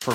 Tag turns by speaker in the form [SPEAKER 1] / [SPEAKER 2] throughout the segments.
[SPEAKER 1] For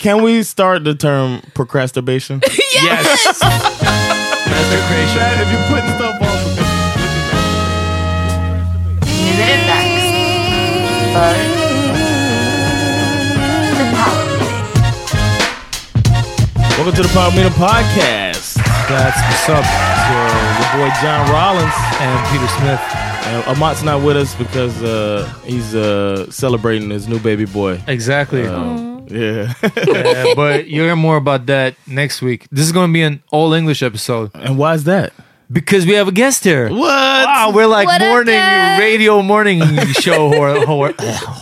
[SPEAKER 2] Can we start the term procrastination?
[SPEAKER 3] Yes!
[SPEAKER 2] if you put stuff off, welcome to the Power Meter Podcast.
[SPEAKER 4] That's what's up.
[SPEAKER 2] Your boy John Rollins
[SPEAKER 4] And Peter Smith.
[SPEAKER 2] and Amat's not with us because uh, he's uh, celebrating his new baby boy. Um,
[SPEAKER 4] Exactly.
[SPEAKER 2] Yeah,
[SPEAKER 4] Yeah, Uh, but you'll hear more about that next week. This is going to be an all English episode
[SPEAKER 2] and why is that?
[SPEAKER 4] because we have a guest here.
[SPEAKER 2] What?
[SPEAKER 4] Wow, Oh, we're like
[SPEAKER 5] What up,
[SPEAKER 4] morning
[SPEAKER 5] guys?
[SPEAKER 4] radio morning show ho- ho-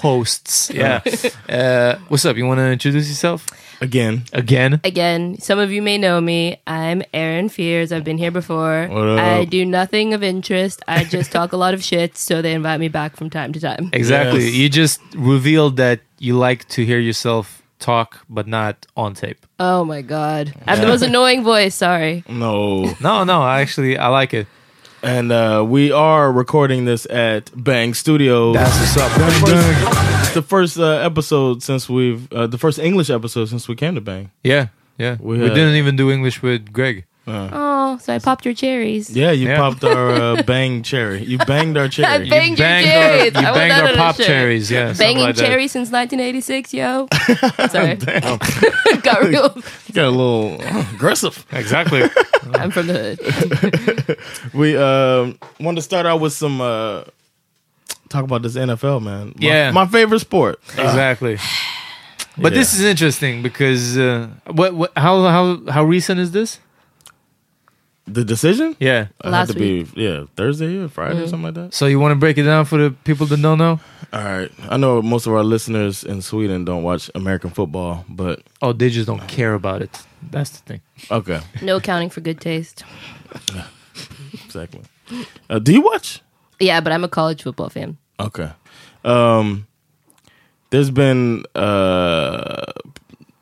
[SPEAKER 4] hosts. Yeah. Uh, what's up? You want to introduce yourself
[SPEAKER 2] Again,
[SPEAKER 4] again?
[SPEAKER 5] Again, some of you may know me. I'm Aaron Fears. I've been here before.
[SPEAKER 2] What up?
[SPEAKER 5] I do nothing of interest. I just talk a lot of shit, so they invite me back from time to time.
[SPEAKER 4] Exactly.
[SPEAKER 2] Yes.
[SPEAKER 4] You just revealed that you like to hear yourself talk, but not on tape.
[SPEAKER 5] Oh my god. I have the most annoying voice, sorry.
[SPEAKER 4] Mm.
[SPEAKER 2] no.
[SPEAKER 4] No, no. Actually, I like it.
[SPEAKER 2] And uh, we are recording this at Bang Studios.
[SPEAKER 4] That's what's up.
[SPEAKER 2] the first uh, episode since we've uh, the first English episode since we came to Bang.
[SPEAKER 4] Yeah, yeah.
[SPEAKER 2] We,
[SPEAKER 4] We,
[SPEAKER 2] uh,
[SPEAKER 4] didn't even do English with Greg.
[SPEAKER 5] Oh, so I popped your cherries.
[SPEAKER 2] Yeah, you
[SPEAKER 4] Yeah.
[SPEAKER 2] popped our uh, bang cherry. You banged our cherry.
[SPEAKER 5] I
[SPEAKER 2] You-
[SPEAKER 5] banged your
[SPEAKER 4] banged our-
[SPEAKER 5] cherries.
[SPEAKER 4] you
[SPEAKER 5] I want
[SPEAKER 4] banged
[SPEAKER 5] that
[SPEAKER 4] our
[SPEAKER 5] on a
[SPEAKER 4] pop
[SPEAKER 5] shirt.
[SPEAKER 4] cherries, yeah, something
[SPEAKER 5] Banging
[SPEAKER 4] like that.
[SPEAKER 5] cherries since 1986, yo. Sorry. Got real.
[SPEAKER 2] you got a little aggressive.
[SPEAKER 4] Exactly.
[SPEAKER 5] I'm from the hood.
[SPEAKER 2] We um, wanted to start out with some uh, talk about this NFL man. My,
[SPEAKER 4] Yeah.
[SPEAKER 2] my favorite sport.
[SPEAKER 4] exactly. But
[SPEAKER 2] Yeah.
[SPEAKER 4] this is interesting because uh, what, what how how how recent is this?
[SPEAKER 2] The decision?
[SPEAKER 4] Yeah.
[SPEAKER 2] It had
[SPEAKER 5] Last
[SPEAKER 2] to be yeah Thursday or Friday or something like that.
[SPEAKER 4] So you want to break it down for the people that don't know?
[SPEAKER 2] All right, I know most of our listeners in Sweden don't watch American football, but
[SPEAKER 4] Oh, they just don't care about it. That's the thing.
[SPEAKER 2] okay,
[SPEAKER 5] No accounting for good taste.
[SPEAKER 2] exactly. Uh, do you watch?
[SPEAKER 5] Yeah, but I'm a college football fan.
[SPEAKER 2] Okay. Um, there's been uh,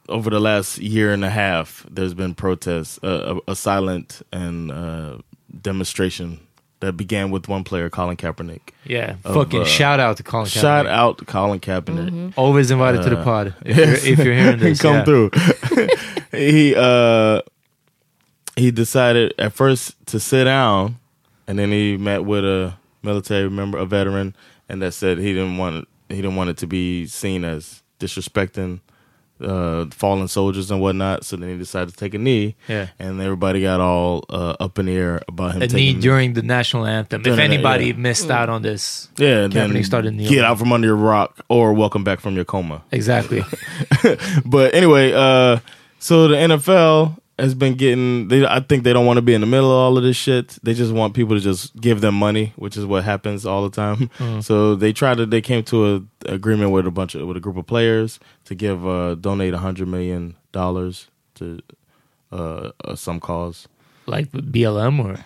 [SPEAKER 2] over the last year and a half, there's been protests, uh, a, a silent and uh, demonstration that began with one player, Colin Kaepernick.
[SPEAKER 4] Yeah.
[SPEAKER 2] Of,
[SPEAKER 4] Fucking
[SPEAKER 2] uh,
[SPEAKER 4] shout out to Colin Kaepernick.
[SPEAKER 2] Shout out Colin Kaepernick.
[SPEAKER 4] Always invited to the pod if, you're, if you're hearing this.
[SPEAKER 2] come
[SPEAKER 4] yeah.
[SPEAKER 2] through. he uh he decided at first to sit down, and then he met with a military member, a veteran, and that said he didn't want he didn't want it to be seen as disrespecting uh fallen soldiers and whatnot. So then he decided to take a knee,
[SPEAKER 4] Yeah.
[SPEAKER 2] and everybody got all uh, up in the air about him
[SPEAKER 4] A knee
[SPEAKER 2] taking
[SPEAKER 4] during the national anthem. If
[SPEAKER 2] During that,
[SPEAKER 4] anybody
[SPEAKER 2] yeah.
[SPEAKER 4] missed out on this,
[SPEAKER 2] Yeah, and
[SPEAKER 4] Kaepernick
[SPEAKER 2] then
[SPEAKER 4] started kneeling.
[SPEAKER 2] get out from under your rock or welcome back from your coma.
[SPEAKER 4] Exactly.
[SPEAKER 2] but anyway, uh, so the NFL has been getting. They, I think they don't want to be in the middle of all of this shit. They just want people to just give them money, which is what happens all the time.
[SPEAKER 4] Mm-hmm.
[SPEAKER 2] So they tried to. They came to a agreement with a bunch of with a group of players to give uh, donate a hundred million dollars to uh, uh, some cause.
[SPEAKER 4] like BLM or.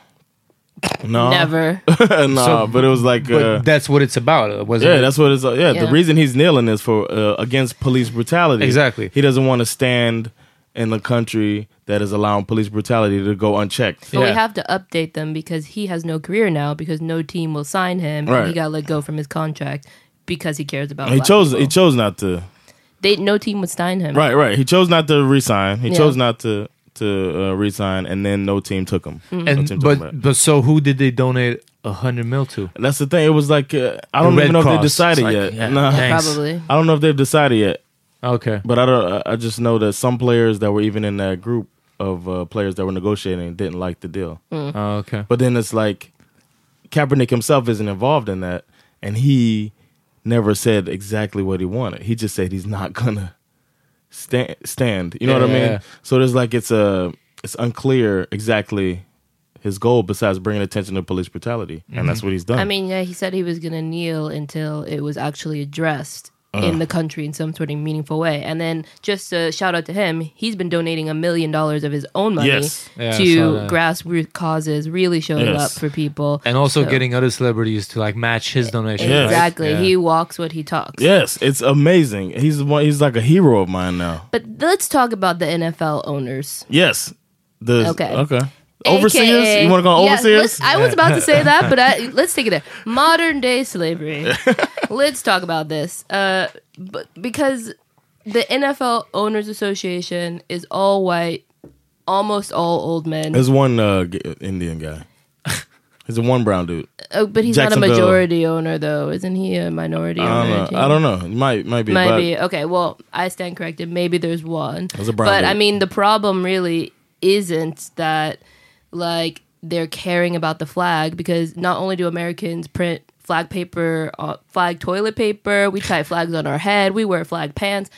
[SPEAKER 2] No,
[SPEAKER 5] Never.
[SPEAKER 2] no,
[SPEAKER 4] So-
[SPEAKER 2] but it was like.
[SPEAKER 4] But
[SPEAKER 2] uh,
[SPEAKER 4] that's what it's about, wasn't
[SPEAKER 2] yeah,
[SPEAKER 4] it?
[SPEAKER 2] that's what it's. Uh, yeah, the
[SPEAKER 5] Yeah.
[SPEAKER 2] reason he's kneeling is for uh, against police brutality.
[SPEAKER 4] Exactly.
[SPEAKER 2] He doesn't want to stand in a country that is allowing police brutality to go unchecked.
[SPEAKER 5] But
[SPEAKER 4] Yeah.
[SPEAKER 5] we have to update them because he has no career now because no team will sign him.
[SPEAKER 2] Right.
[SPEAKER 5] And he got let go from his contract because he cares about.
[SPEAKER 2] He
[SPEAKER 5] black
[SPEAKER 2] chose.
[SPEAKER 5] people.
[SPEAKER 2] He chose not to.
[SPEAKER 5] They no team would sign him.
[SPEAKER 2] Right, right. He chose not to resign. He
[SPEAKER 5] Yeah.
[SPEAKER 2] chose not to to uh, resign, and then no team took him.
[SPEAKER 5] Mm.
[SPEAKER 2] No
[SPEAKER 4] and
[SPEAKER 2] team took him back.
[SPEAKER 4] but but so who did they donate a hundred mil to?
[SPEAKER 2] that's the thing. It was like uh, I don't even
[SPEAKER 4] The Red
[SPEAKER 2] know if
[SPEAKER 4] Cross.
[SPEAKER 2] they decided
[SPEAKER 4] It's like,
[SPEAKER 2] yet.
[SPEAKER 4] yeah,
[SPEAKER 2] Nah.
[SPEAKER 4] thanks.
[SPEAKER 5] Probably.
[SPEAKER 2] I don't know if they've decided yet.
[SPEAKER 4] Okay.
[SPEAKER 2] But I don't. I- I just know that some players that were even in that group of uh, players that were negotiating didn't like the deal.
[SPEAKER 5] Mm.
[SPEAKER 4] Oh, okay.
[SPEAKER 2] But then it's like Kaepernick himself isn't involved in that, and he never said exactly what he wanted. He just said he's not gonna stand. Stand. You know what I
[SPEAKER 4] Yeah.
[SPEAKER 2] mean? So there's like it's a it's unclear exactly his goal besides bringing attention to police brutality, and that's what he's done.
[SPEAKER 5] I mean, yeah, he said he was gonna kneel until it was actually addressed in the country in some sort of meaningful way. And then just a shout out to him, he's been donating a million dollars of his own money
[SPEAKER 2] Yes.
[SPEAKER 4] Yeah, I saw
[SPEAKER 5] to
[SPEAKER 4] that.
[SPEAKER 5] grassroots causes, really showing
[SPEAKER 2] Yes.
[SPEAKER 5] up for people.
[SPEAKER 4] And also
[SPEAKER 5] So-
[SPEAKER 4] getting other celebrities to like match his donation. right?
[SPEAKER 5] Exactly.
[SPEAKER 4] Yeah.
[SPEAKER 5] He walks what he talks.
[SPEAKER 2] yes, it's amazing. He's one. He's like a hero of mine now.
[SPEAKER 5] But let's talk about the NFL owners.
[SPEAKER 2] Yes. The
[SPEAKER 5] Okay.
[SPEAKER 2] okay. Overseers.
[SPEAKER 5] AKA
[SPEAKER 2] you want to go on
[SPEAKER 5] Yeah,
[SPEAKER 2] overseers?
[SPEAKER 5] let's- I was about to say that, but I, let's take it there. Modern day slavery. let's talk about this. Uh, but because the NFL Owners Association is all white, almost all old men,
[SPEAKER 2] There's one uh, g- Indian guy. There's one brown dude.
[SPEAKER 5] Uh, but he's not a
[SPEAKER 2] Jacksonville.
[SPEAKER 5] majority owner, though. Isn't he a minority
[SPEAKER 2] I
[SPEAKER 5] owner?
[SPEAKER 2] don't
[SPEAKER 5] too?
[SPEAKER 2] know. I don't know. It Might might be.
[SPEAKER 5] Might
[SPEAKER 2] but
[SPEAKER 5] be. Okay, well, I stand corrected. Maybe there's one.
[SPEAKER 2] was a brown
[SPEAKER 5] but I
[SPEAKER 2] dude.
[SPEAKER 5] mean, the problem really isn't that like they're caring about the flag because not only do Americans print flag paper, uh, flag toilet paper, we tie flags on our head, we wear flag pants.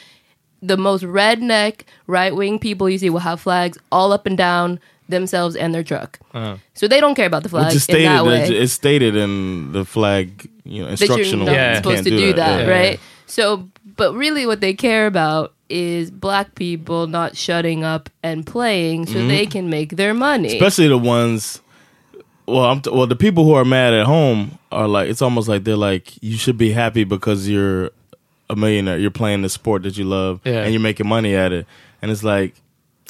[SPEAKER 5] The most redneck right wing people you see will have flags all up and down themselves and their truck. So they don't care about the
[SPEAKER 2] Uh-huh. Which is
[SPEAKER 5] flag in
[SPEAKER 2] stated.
[SPEAKER 5] that way
[SPEAKER 2] It's it's stated in the flag. You know,
[SPEAKER 5] that
[SPEAKER 2] instructional.
[SPEAKER 5] you're not
[SPEAKER 4] Yeah.
[SPEAKER 5] supposed
[SPEAKER 2] Can't
[SPEAKER 5] to do, that,
[SPEAKER 2] Yeah.
[SPEAKER 5] right? So, but really, what they care about is black people not shutting up and playing so
[SPEAKER 2] Mm-hmm.
[SPEAKER 5] they can make their money.
[SPEAKER 2] Especially the ones. Well, I'm t- well. The people who are mad at home are like. It's almost like they're like, you should be happy because you're a millionaire. You're playing the sport that you love,
[SPEAKER 4] Yeah.
[SPEAKER 2] and you're making money at it. And it's like,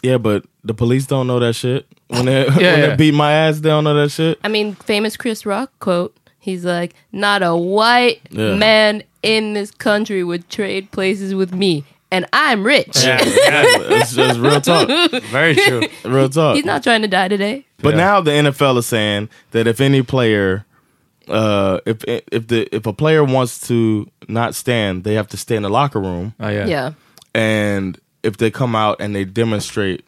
[SPEAKER 2] yeah, but the police don't know that shit. When they when
[SPEAKER 4] yeah.
[SPEAKER 2] they beat my ass, they don't know that shit.
[SPEAKER 5] I mean, famous Chris Rock quote. He's like, "Not a white
[SPEAKER 2] Yeah.
[SPEAKER 5] man in this country would trade places with me, and I'm rich."
[SPEAKER 2] it's just real talk.
[SPEAKER 4] Very true.
[SPEAKER 2] Real talk.
[SPEAKER 5] He's not trying to die today.
[SPEAKER 2] but
[SPEAKER 4] Yeah.
[SPEAKER 2] now the NFL is saying that if any player, uh, if if the if a player wants to not stand, they have to stay in the locker room,
[SPEAKER 4] Oh yeah.
[SPEAKER 5] Yeah.
[SPEAKER 2] and if they come out and they demonstrate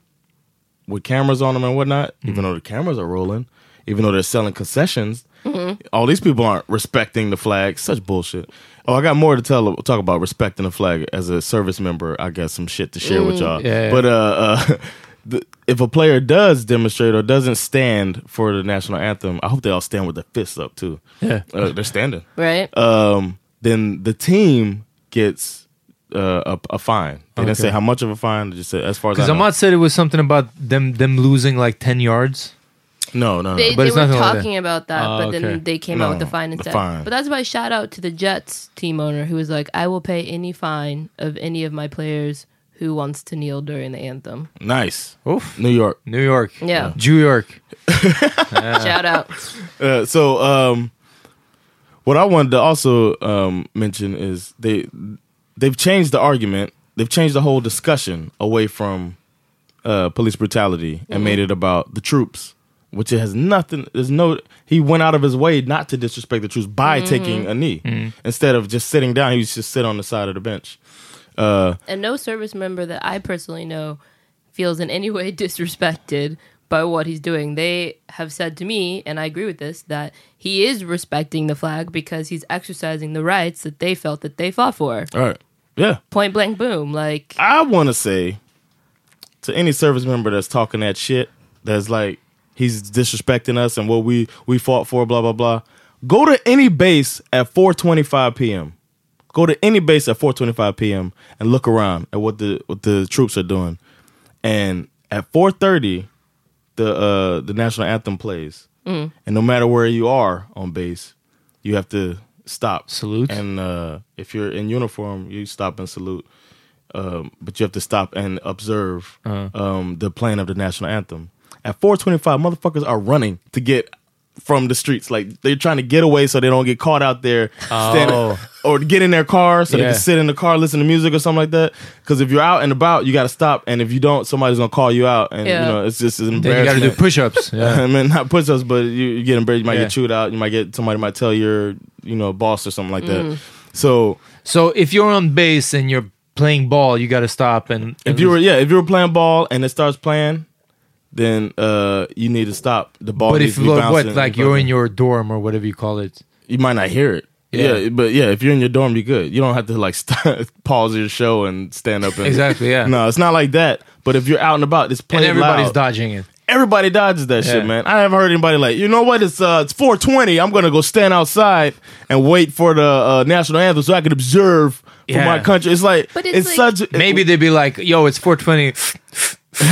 [SPEAKER 2] with cameras on them and whatnot,
[SPEAKER 4] Mm-hmm.
[SPEAKER 2] even though the cameras are rolling, even though they're selling concessions,
[SPEAKER 4] Mm-hmm.
[SPEAKER 2] all these people aren't respecting the flag. Such bullshit. Oh, I got more to tell talk about respecting the flag as a service member. I got some shit to share with y'all.
[SPEAKER 4] Mm. yeah, yeah.
[SPEAKER 2] But uh, uh the, if a player does demonstrate or doesn't stand for the national anthem, I hope they all stand with their fists up too.
[SPEAKER 4] Yeah.
[SPEAKER 2] Uh, they're standing.
[SPEAKER 5] right?
[SPEAKER 2] Um, then the team gets uh, a, a fine. They didn't
[SPEAKER 4] Okay.
[SPEAKER 2] say how much of a fine. They just said as far as I
[SPEAKER 4] Because
[SPEAKER 2] know.
[SPEAKER 4] Ahmad said it was something about them them losing like ten yards.
[SPEAKER 2] no, no, no.
[SPEAKER 5] they,
[SPEAKER 4] Uh, But
[SPEAKER 5] they
[SPEAKER 4] it's
[SPEAKER 5] were
[SPEAKER 4] nothing like that.
[SPEAKER 5] talking about that,
[SPEAKER 4] Oh,
[SPEAKER 5] but
[SPEAKER 4] okay.
[SPEAKER 5] then they came
[SPEAKER 2] Ah, No,
[SPEAKER 5] out with the fine
[SPEAKER 2] the
[SPEAKER 5] instead.
[SPEAKER 2] fine.
[SPEAKER 5] But that's why shout out to the Jets team owner who was like, I will pay any fine of any of my players who wants to kneel during the anthem.
[SPEAKER 2] nice.
[SPEAKER 4] Oof.
[SPEAKER 2] New York.
[SPEAKER 4] New York.
[SPEAKER 5] Yeah.
[SPEAKER 4] New York.
[SPEAKER 5] Shout out.
[SPEAKER 2] Uh, so um what I wanted to also um mention is they they've changed the argument, they've changed the whole discussion away from uh police brutality and made it about the troops, which it has nothing there's no he went out of his way not to disrespect the troops by taking a knee. Instead of just sitting down, he was just sit on the side of the bench.
[SPEAKER 5] And no service member that I personally know feels in any way disrespected by what he's doing. They have said to me, and I agree with this, that he is respecting the flag because he's exercising the rights that they felt that they fought for.
[SPEAKER 2] All right. Yeah.
[SPEAKER 5] Point blank, boom. Like,
[SPEAKER 2] I want to say to any service member that's talking that shit, that's like he's disrespecting us and what we we fought for, blah blah blah. Go to any base at 4:25 p.m. Go to any base at 4:25 p.m. and look around at what the what the troops are doing. And at 4:30, the uh, the national anthem plays, and no matter where you are on base, you have to stop,
[SPEAKER 4] Salute.
[SPEAKER 2] and uh, if you're in uniform, you stop and salute. Um, but you have to stop and observe
[SPEAKER 4] Uh-huh.
[SPEAKER 2] um, the playing of the national anthem. At 4:25, motherfuckers are running to get from the streets, like they're trying to get away so they don't get caught out there, standing, or get in their car so they
[SPEAKER 4] Oh. Yeah.
[SPEAKER 2] can sit in the car, listen to music or something like that. Because if you're out and about, you got to stop, and if you don't, somebody's gonna call you out, and
[SPEAKER 5] Yeah.
[SPEAKER 2] you know it's just an
[SPEAKER 4] Then you got to
[SPEAKER 2] embarrassment.
[SPEAKER 4] do push-ups. Yeah.
[SPEAKER 2] I mean, not push ups, but you, you get embarrassed. You might
[SPEAKER 4] Yeah.
[SPEAKER 2] get chewed out. You might get somebody might tell your you know boss or something like that. So
[SPEAKER 4] so if you're on base and you're playing ball, you got to stop and
[SPEAKER 2] if you were yeah, if you were playing ball and it starts playing, then uh you need to stop. The ball.
[SPEAKER 4] But
[SPEAKER 2] needs
[SPEAKER 4] if
[SPEAKER 2] to be
[SPEAKER 4] like, what
[SPEAKER 2] bouncing
[SPEAKER 4] like you're in your dorm or whatever you call it.
[SPEAKER 2] you might not hear it. Yeah.
[SPEAKER 4] Yeah.
[SPEAKER 2] but yeah, if you're in your dorm, you good. You don't have to like st- pause your show and stand up. And,
[SPEAKER 4] Exactly, yeah.
[SPEAKER 2] No, it's not like that. But if you're out and about, it's
[SPEAKER 4] And
[SPEAKER 2] playing
[SPEAKER 4] everybody's
[SPEAKER 2] loud.
[SPEAKER 4] dodging it.
[SPEAKER 2] everybody dodges that
[SPEAKER 4] Yeah.
[SPEAKER 2] shit, man. I haven't heard anybody like, you know what? It's uh, it's 420. I'm gonna go stand outside and wait for the uh, national anthem so I can observe for
[SPEAKER 4] Yeah.
[SPEAKER 2] my country. It's like
[SPEAKER 5] But
[SPEAKER 2] it's,
[SPEAKER 5] it's like-
[SPEAKER 2] such
[SPEAKER 4] Maybe they'd be like, "Yo, it's 420.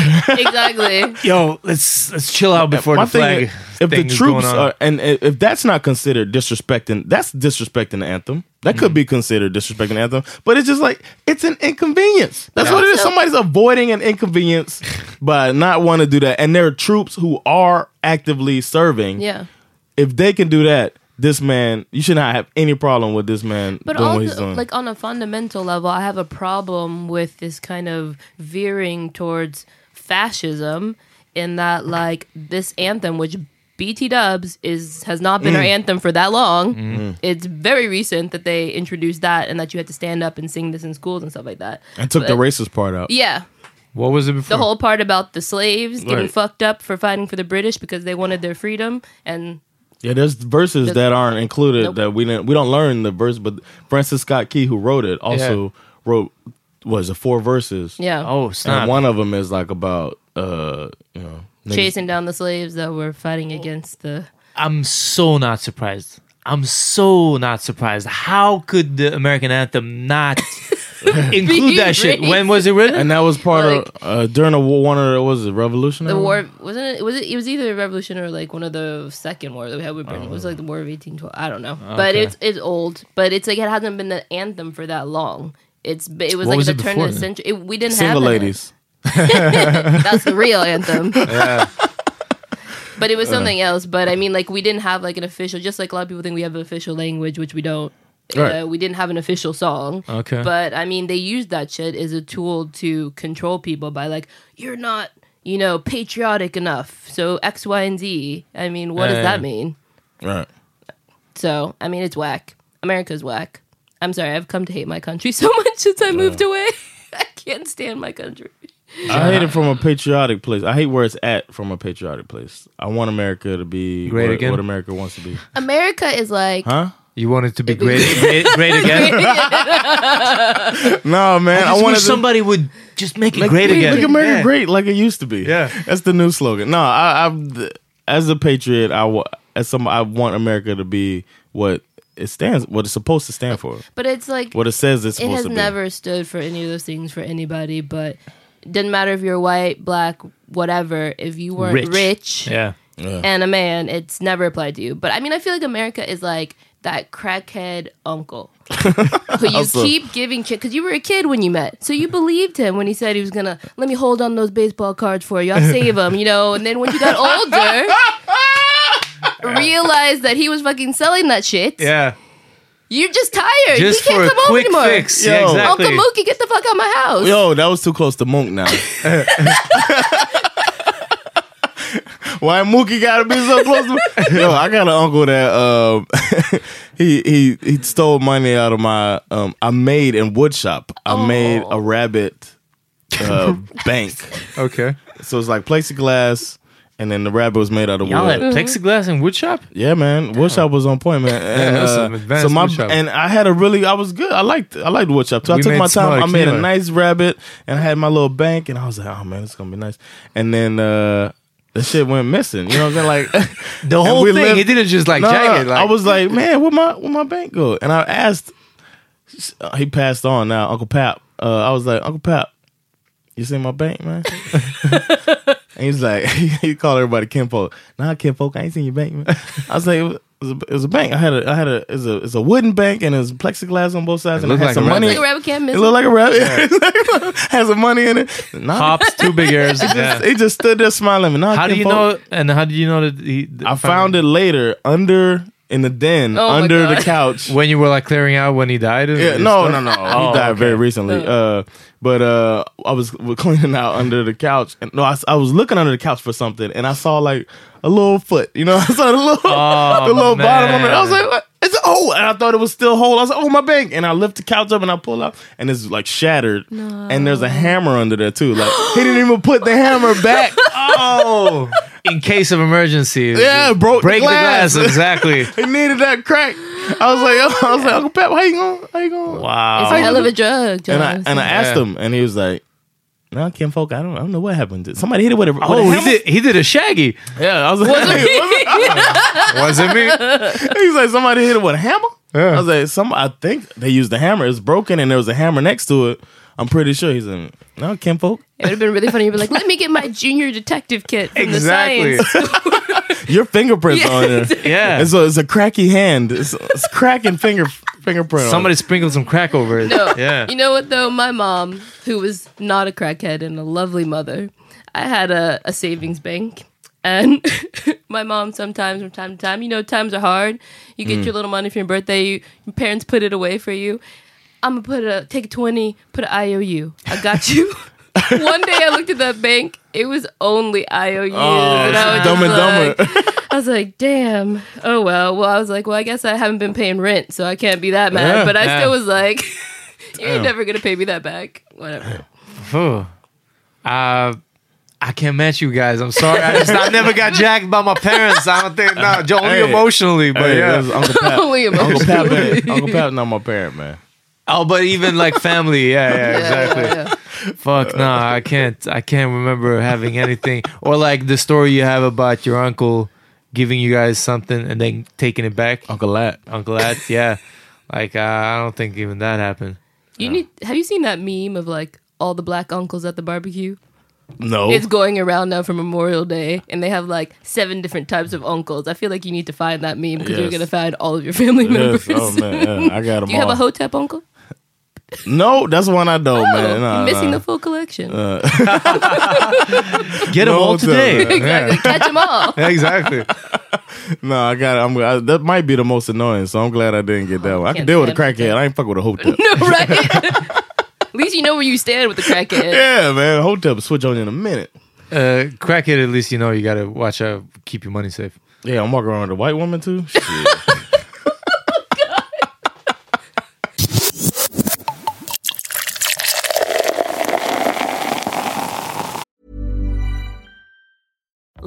[SPEAKER 5] exactly.
[SPEAKER 4] Yo, let's let's chill out before
[SPEAKER 2] my
[SPEAKER 4] the flag."
[SPEAKER 2] thing. is, If the
[SPEAKER 4] thing is
[SPEAKER 2] troops
[SPEAKER 4] going on.
[SPEAKER 2] are, and i- if that's not considered disrespecting, that's disrespecting the anthem. That
[SPEAKER 4] Mm.
[SPEAKER 2] could be considered disrespecting the anthem, but it's just like it's an inconvenience. That's what it is. Somebody's avoiding an inconvenience by not want to do that, and there are troops who are actively serving.
[SPEAKER 5] Yeah.
[SPEAKER 2] if they can do that, this man, you should not have any problem with this man
[SPEAKER 5] But
[SPEAKER 2] doing what he's
[SPEAKER 5] also,
[SPEAKER 2] doing.
[SPEAKER 5] like on a fundamental level, I have a problem with this kind of veering towards fascism. In that, like this anthem, which BT Dubs is has not been our
[SPEAKER 2] Mm.
[SPEAKER 5] anthem for that long. Mm. It's very recent that they introduced that, and that you had to stand up and sing this in schools and stuff like that.
[SPEAKER 2] I took the
[SPEAKER 5] but-
[SPEAKER 2] racist part out.
[SPEAKER 5] Yeah,
[SPEAKER 4] what was it before?
[SPEAKER 5] the whole part about the slaves
[SPEAKER 2] Right.
[SPEAKER 5] getting fucked up for fighting for the British because they wanted their freedom, and
[SPEAKER 2] Yeah, there's verses that aren't included
[SPEAKER 5] Nope.
[SPEAKER 2] that we didn't we don't learn the verse, but Francis Scott Key, who wrote it, also
[SPEAKER 4] Yeah.
[SPEAKER 2] wrote was it four verses.
[SPEAKER 5] yeah,
[SPEAKER 4] oh
[SPEAKER 2] and
[SPEAKER 4] snap!
[SPEAKER 2] one of them is like about uh you know niggas-
[SPEAKER 5] chasing down the slaves that were fighting against the
[SPEAKER 4] I'm so not surprised. I'm so not surprised. How could the American anthem not include that shit? When was it written?
[SPEAKER 2] And that was part
[SPEAKER 5] Like-
[SPEAKER 2] of uh, during a war, one of the, what was it revolutionary?
[SPEAKER 5] the
[SPEAKER 4] Um,
[SPEAKER 5] war wasn't it was it it was either a revolution or like one of the second war that we had with Britain. It
[SPEAKER 4] Oh.
[SPEAKER 5] was like the War of eighteen twelve. I don't know. But it's it's old. But it's like it hasn't been the anthem for that long. It's b- it was like
[SPEAKER 4] What was
[SPEAKER 5] the
[SPEAKER 4] it
[SPEAKER 5] turn
[SPEAKER 4] before
[SPEAKER 5] of the
[SPEAKER 4] then?
[SPEAKER 5] century. It, we didn't
[SPEAKER 2] Single
[SPEAKER 5] have an-
[SPEAKER 2] ladies.
[SPEAKER 5] That's the real anthem. But it
[SPEAKER 4] Uh.
[SPEAKER 5] was something else. But I mean, like we didn't have like an official. Just like a lot of people think we have an official language, which we don't.
[SPEAKER 2] Right.
[SPEAKER 5] Uh, we didn't have an official song.
[SPEAKER 4] Okay.
[SPEAKER 5] But I mean, they used that shit as a tool to control people by like, you're not, you know, patriotic enough. So X, Y, and Z. I mean, what
[SPEAKER 4] Yeah,
[SPEAKER 5] does that
[SPEAKER 4] yeah.
[SPEAKER 5] mean?
[SPEAKER 2] Right.
[SPEAKER 5] So I mean, it's whack. America's whack. I'm sorry. I've come to hate my country so much since I moved away. I can't stand my country.
[SPEAKER 2] I hate it from a patriotic place. I hate where it's at from a patriotic place. I want America to be
[SPEAKER 4] Great
[SPEAKER 2] what,
[SPEAKER 4] again?
[SPEAKER 2] what America wants to be.
[SPEAKER 5] America is like
[SPEAKER 2] Huh?
[SPEAKER 4] You wanted to be great, great, great again.
[SPEAKER 2] No, man.
[SPEAKER 4] I,
[SPEAKER 2] I,
[SPEAKER 4] just
[SPEAKER 2] wanted
[SPEAKER 4] wish
[SPEAKER 2] to-
[SPEAKER 4] somebody would just make it
[SPEAKER 2] Make-
[SPEAKER 4] great
[SPEAKER 2] make-
[SPEAKER 4] again.
[SPEAKER 2] Make America
[SPEAKER 4] Yeah.
[SPEAKER 2] great like it used to be.
[SPEAKER 4] Yeah.
[SPEAKER 2] that's the new slogan. No, I, I'm th- as a patriot. I wa- as some I want America to be what it stands, what it's supposed to stand for,
[SPEAKER 5] But it's like
[SPEAKER 2] what it says it's
[SPEAKER 5] it
[SPEAKER 2] supposed
[SPEAKER 5] has
[SPEAKER 2] to be.
[SPEAKER 5] never stood for any of those things for anybody. But it doesn't matter if you're white, black, whatever. If you weren't
[SPEAKER 4] Rich.
[SPEAKER 5] rich,
[SPEAKER 4] Yeah.
[SPEAKER 5] and a man, it's never applied to you. But I mean, I feel like America is like that crackhead uncle who you
[SPEAKER 2] Also-
[SPEAKER 5] keep giving because you were a kid when you met, so you believed him when he said he was gonna let me hold on those baseball cards for you. I'll save them, you know. And then when you got older. Realized that he was fucking selling that shit.
[SPEAKER 4] Yeah.
[SPEAKER 5] You're just tired.
[SPEAKER 4] Just
[SPEAKER 5] he
[SPEAKER 4] for
[SPEAKER 5] can't
[SPEAKER 4] a
[SPEAKER 5] come over
[SPEAKER 4] quick
[SPEAKER 5] anymore.
[SPEAKER 4] fix. Yeah,
[SPEAKER 2] Yo.
[SPEAKER 4] exactly.
[SPEAKER 5] Uncle Mookie, get the fuck out of my house.
[SPEAKER 2] Yo, that was too close to Mook now. Why Mookie gotta be so close to Yo, I got an uncle that um he he he stole money out of my um I made in wood shop. I
[SPEAKER 5] Oh.
[SPEAKER 2] made a rabbit uh, bank.
[SPEAKER 4] Okay.
[SPEAKER 2] So it's like plexiglass and then the rabbit was made out of
[SPEAKER 4] Y'all
[SPEAKER 2] wood.
[SPEAKER 4] had plexiglass and wood shop?
[SPEAKER 2] Yeah, man. Woodshop was on point, man. And,
[SPEAKER 4] that was some
[SPEAKER 2] uh,
[SPEAKER 4] advanced
[SPEAKER 2] so my
[SPEAKER 4] woodshop.
[SPEAKER 2] and I had a really I was good. I liked I liked woodshop too. I
[SPEAKER 4] We
[SPEAKER 2] took
[SPEAKER 4] made
[SPEAKER 2] my time.
[SPEAKER 4] smart
[SPEAKER 2] I made a
[SPEAKER 4] killer.
[SPEAKER 2] nice rabbit and I had my little bank and I was like, oh man, it's gonna be nice. And then uh the shit went missing. You know what I'm saying? Like
[SPEAKER 4] The whole thing. it didn't just like
[SPEAKER 2] no,
[SPEAKER 4] jagged. Like,
[SPEAKER 2] I was like, man, where my where my bank go? And I asked. He passed on now, Uncle Pap. Uh, I was like, Uncle Pap, you see my bank, man? and he's like, he called everybody kinfolk. Nah, kinfolk, I ain't seen your bank, man. I was like. It was a, it was a bank. I had a, I had a, it's a, it's a wooden bank, and it's plexiglass on both sides,
[SPEAKER 4] It
[SPEAKER 2] and I
[SPEAKER 4] looked
[SPEAKER 2] had
[SPEAKER 4] like
[SPEAKER 2] some
[SPEAKER 4] a
[SPEAKER 2] money.
[SPEAKER 5] Like a rabbit can't miss.
[SPEAKER 2] It looked like a rabbit. Has some money in it. Nah,
[SPEAKER 4] pops, two big ears. yeah.
[SPEAKER 2] he just stood there smiling. Nah,
[SPEAKER 4] How do you
[SPEAKER 2] kinfolk.
[SPEAKER 4] know? And how do you know that he?
[SPEAKER 2] I found it later under in the den
[SPEAKER 5] Oh my
[SPEAKER 2] under the
[SPEAKER 5] God.
[SPEAKER 2] couch.
[SPEAKER 4] when you were like clearing out when he died. and
[SPEAKER 2] Yeah, no, no, no.
[SPEAKER 4] Oh,
[SPEAKER 2] he died
[SPEAKER 4] okay.
[SPEAKER 2] very recently.
[SPEAKER 5] Oh.
[SPEAKER 2] Uh, but uh, I was cleaning out under the couch, and no, I, s- I was looking under the couch for something, and I saw like a little foot. You know, I saw the little,
[SPEAKER 4] Oh,
[SPEAKER 2] the little bottom of it. I was
[SPEAKER 4] man.
[SPEAKER 2] like, what? It's oh, and I thought it was still whole. I was like, oh my bank, and I lift the couch up and I pull out, and it's like shattered, and there's a hammer under there too. Like he didn't even put the hammer back.
[SPEAKER 4] Oh, in case of emergency.
[SPEAKER 2] Yeah, broke the
[SPEAKER 4] break
[SPEAKER 2] glass.
[SPEAKER 4] the glass. Exactly.
[SPEAKER 2] He needed that crack. I was like, "Oh," I was like, Uncle Pep, how you going? How you going?
[SPEAKER 5] It's
[SPEAKER 4] Wow.
[SPEAKER 5] a hell of a drug. John.
[SPEAKER 2] And I and I asked
[SPEAKER 4] Yeah.
[SPEAKER 2] him, and he was like, "No, Kim Folk, I don't, I don't know what happened. Somebody hit it with a with a
[SPEAKER 4] Oh,
[SPEAKER 2] hammer."
[SPEAKER 4] he did. He did a shaggy.
[SPEAKER 2] Yeah, I was like,
[SPEAKER 4] Was it me?
[SPEAKER 2] he's like, somebody hit it with a hammer. I was like, some, I think they used the hammer. It's broken, and there was a hammer next to it. I'm pretty sure he's in. No, Kim Folk,
[SPEAKER 5] it would have been really funny. You'd be like, "Let me get my junior detective kit from
[SPEAKER 4] Exactly.
[SPEAKER 5] the science."
[SPEAKER 2] your fingerprints
[SPEAKER 5] Yeah.
[SPEAKER 2] on there.
[SPEAKER 4] Yeah.
[SPEAKER 2] And so it's a cracky hand. It's, it's cracking finger fingerprint. on
[SPEAKER 4] Somebody sprinkled some crack over it.
[SPEAKER 5] No.
[SPEAKER 4] Yeah.
[SPEAKER 5] You know what though? My mom, who was not a crackhead and a lovely mother, I had a, a savings bank. And my mom sometimes from time to time, you know, times are hard. You get
[SPEAKER 2] Mm.
[SPEAKER 5] your little money for your birthday, you, your parents put it away for you. I'm gonna put a take a twenty, put an IOU. I got you. One day I looked at that bank, it was only IOUs. and I was
[SPEAKER 2] Oh, Dumb
[SPEAKER 5] just
[SPEAKER 2] and
[SPEAKER 5] like- I was like, damn. Oh well. Well, I was like, well, I guess I haven't been paying rent, so I can't be that mad.
[SPEAKER 2] Yeah,
[SPEAKER 5] but I
[SPEAKER 4] yeah.
[SPEAKER 5] still was like, you ain't never gonna pay me that back. Whatever.
[SPEAKER 4] Phew. Uh, I can't match you guys. I'm sorry. I just I never got jacked by my parents. I don't think no, j- only
[SPEAKER 2] Hey.
[SPEAKER 4] emotionally, but
[SPEAKER 2] Hey,
[SPEAKER 4] yeah.
[SPEAKER 2] that's Uncle Pap.
[SPEAKER 5] Only
[SPEAKER 2] Uncle
[SPEAKER 5] emotional.
[SPEAKER 2] Pap, man. Uncle Pap, not my parent, man.
[SPEAKER 4] Oh, but even like family, yeah, yeah, exactly. Fuck no, I can't. I can't remember having anything or like the story you have about your uncle giving you guys something and then taking it back.
[SPEAKER 2] Uncle Lat.
[SPEAKER 4] Uncle Ed, yeah. Like uh, I don't think even that happened.
[SPEAKER 5] You need. Have you seen that meme of like all the black uncles at the barbecue?
[SPEAKER 2] No,
[SPEAKER 5] It's going around now for Memorial Day, and they have like seven different types of uncles. I feel like you need to find that meme because you're
[SPEAKER 2] Yes.
[SPEAKER 5] gonna find all of your family
[SPEAKER 2] Yes.
[SPEAKER 5] members.
[SPEAKER 2] Oh man, yeah, I got them
[SPEAKER 5] Do you have
[SPEAKER 2] all.
[SPEAKER 5] a hotep uncle?
[SPEAKER 2] no, that's one I don't, man. Nah,
[SPEAKER 5] You're Oh, missing
[SPEAKER 2] nah. Uh,
[SPEAKER 5] the full collection.
[SPEAKER 4] Get them
[SPEAKER 2] No,
[SPEAKER 4] all
[SPEAKER 2] it's not
[SPEAKER 4] today.
[SPEAKER 5] exactly. Catch them all.
[SPEAKER 4] Yeah, exactly.
[SPEAKER 2] No, I got it. I'm, I, that might be the most annoying, so I'm glad I didn't get that one. I can
[SPEAKER 5] can't
[SPEAKER 2] deal with a
[SPEAKER 5] stand
[SPEAKER 2] crackhead. I ain't fuck with a hotep.
[SPEAKER 5] right? At least you know where you stand with the crackhead.
[SPEAKER 2] yeah, man. Hotep switch on in a minute.
[SPEAKER 4] Uh, crack it. At least you know you gotta watch out. Keep your money safe.
[SPEAKER 2] Yeah, I'm walking around with a white woman too. Shit.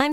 [SPEAKER 6] I'm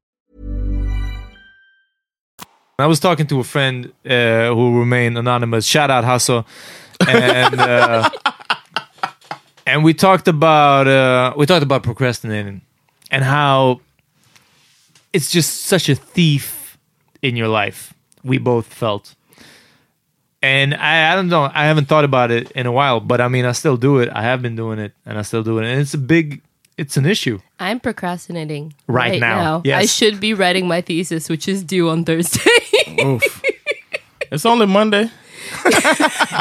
[SPEAKER 4] I was talking to a friend uh, who remained anonymous. Shout out Hasso, and uh, and we talked about uh, we talked about procrastinating and how it's just such a thief in your life. We both felt, and I, I don't know. I haven't thought about it in a while, but I mean, I still do it. I have been doing it, and I still do it, and it's a big. It's an issue.
[SPEAKER 5] I'm procrastinating
[SPEAKER 4] Right now.
[SPEAKER 5] I
[SPEAKER 4] Yes.
[SPEAKER 5] should be writing my thesis, which is due on Thursday.
[SPEAKER 2] It's only Monday.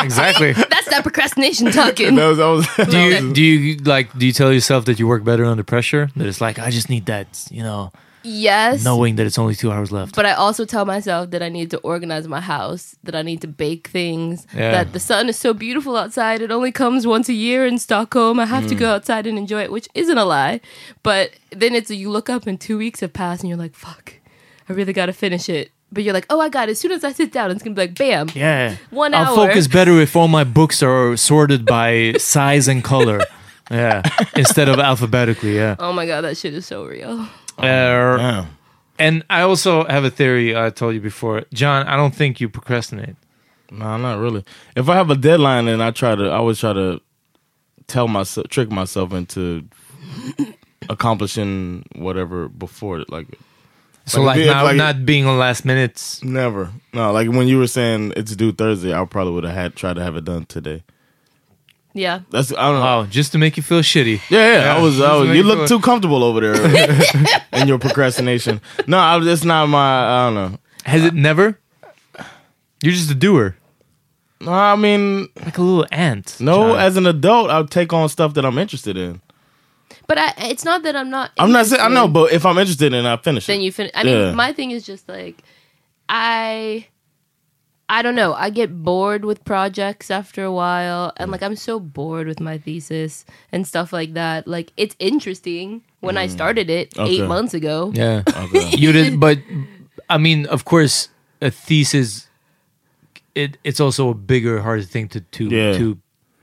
[SPEAKER 4] Exactly.
[SPEAKER 5] That's that procrastination talking.
[SPEAKER 2] That was, that was,
[SPEAKER 4] do you do you like do you tell yourself that you work better under pressure? That it's like I just need that, you know,
[SPEAKER 5] Yes.
[SPEAKER 4] knowing that it's only two hours left.
[SPEAKER 5] But I also tell myself that I need to organize my house, that I need to bake things,
[SPEAKER 4] Yeah.
[SPEAKER 5] that the sun is so beautiful outside. It only comes once a year in Stockholm. I have to go outside and enjoy it, which isn't a lie. But then it's you look up and two weeks have passed and you're like, fuck, I really got to finish it. But you're like, oh, I got it. As soon as I sit down, it's going to be like, bam.
[SPEAKER 4] yeah,
[SPEAKER 5] One
[SPEAKER 4] I'll
[SPEAKER 5] hour.
[SPEAKER 4] focus better if all my books are sorted by size and color. Yeah, instead of alphabetically. Yeah.
[SPEAKER 5] Oh my God, that shit is so real.
[SPEAKER 4] Er,
[SPEAKER 2] Oh, Damn.
[SPEAKER 4] and I also have a theory I told you before, John. I don't think you procrastinate.
[SPEAKER 2] No, not really. If I have a deadline and I try to, I always try to tell myself, trick myself into accomplishing whatever before it. Like
[SPEAKER 4] So
[SPEAKER 2] Like,
[SPEAKER 4] like,
[SPEAKER 2] if-
[SPEAKER 4] now,
[SPEAKER 2] like-
[SPEAKER 4] not being on last minutes.
[SPEAKER 2] never. No, like when you were saying it's due Thursday, I probably would have had tried to have it done today.
[SPEAKER 5] Yeah.
[SPEAKER 2] That's I don't know.
[SPEAKER 4] Oh, just to make you feel shitty.
[SPEAKER 2] Yeah, yeah, I was. I was
[SPEAKER 4] Just
[SPEAKER 2] you
[SPEAKER 4] make
[SPEAKER 2] look
[SPEAKER 4] feel-
[SPEAKER 2] too comfortable over there in your procrastination. No, I was, it's not my. I don't know.
[SPEAKER 4] Has it never? You're just a doer,
[SPEAKER 2] No, I mean,
[SPEAKER 4] like a little ant.
[SPEAKER 2] no.
[SPEAKER 4] John.
[SPEAKER 2] As an adult, I'll take on stuff that I'm interested in.
[SPEAKER 5] But I, it's not that I'm not.
[SPEAKER 2] I'm not saying I know,
[SPEAKER 5] interested.
[SPEAKER 2] but if I'm interested in, it, I finish it.
[SPEAKER 5] then you finish. I mean,
[SPEAKER 2] Yeah.
[SPEAKER 5] my thing is just like I, I don't know. I get bored with projects after a while, and like I'm so bored with my thesis and stuff like that. Like it's interesting when I started it
[SPEAKER 2] Mm. Okay.
[SPEAKER 5] eight months ago.
[SPEAKER 4] Yeah. you did, but I mean, of course, a thesis. It it's also a bigger, harder thing to to
[SPEAKER 2] Yeah.
[SPEAKER 4] to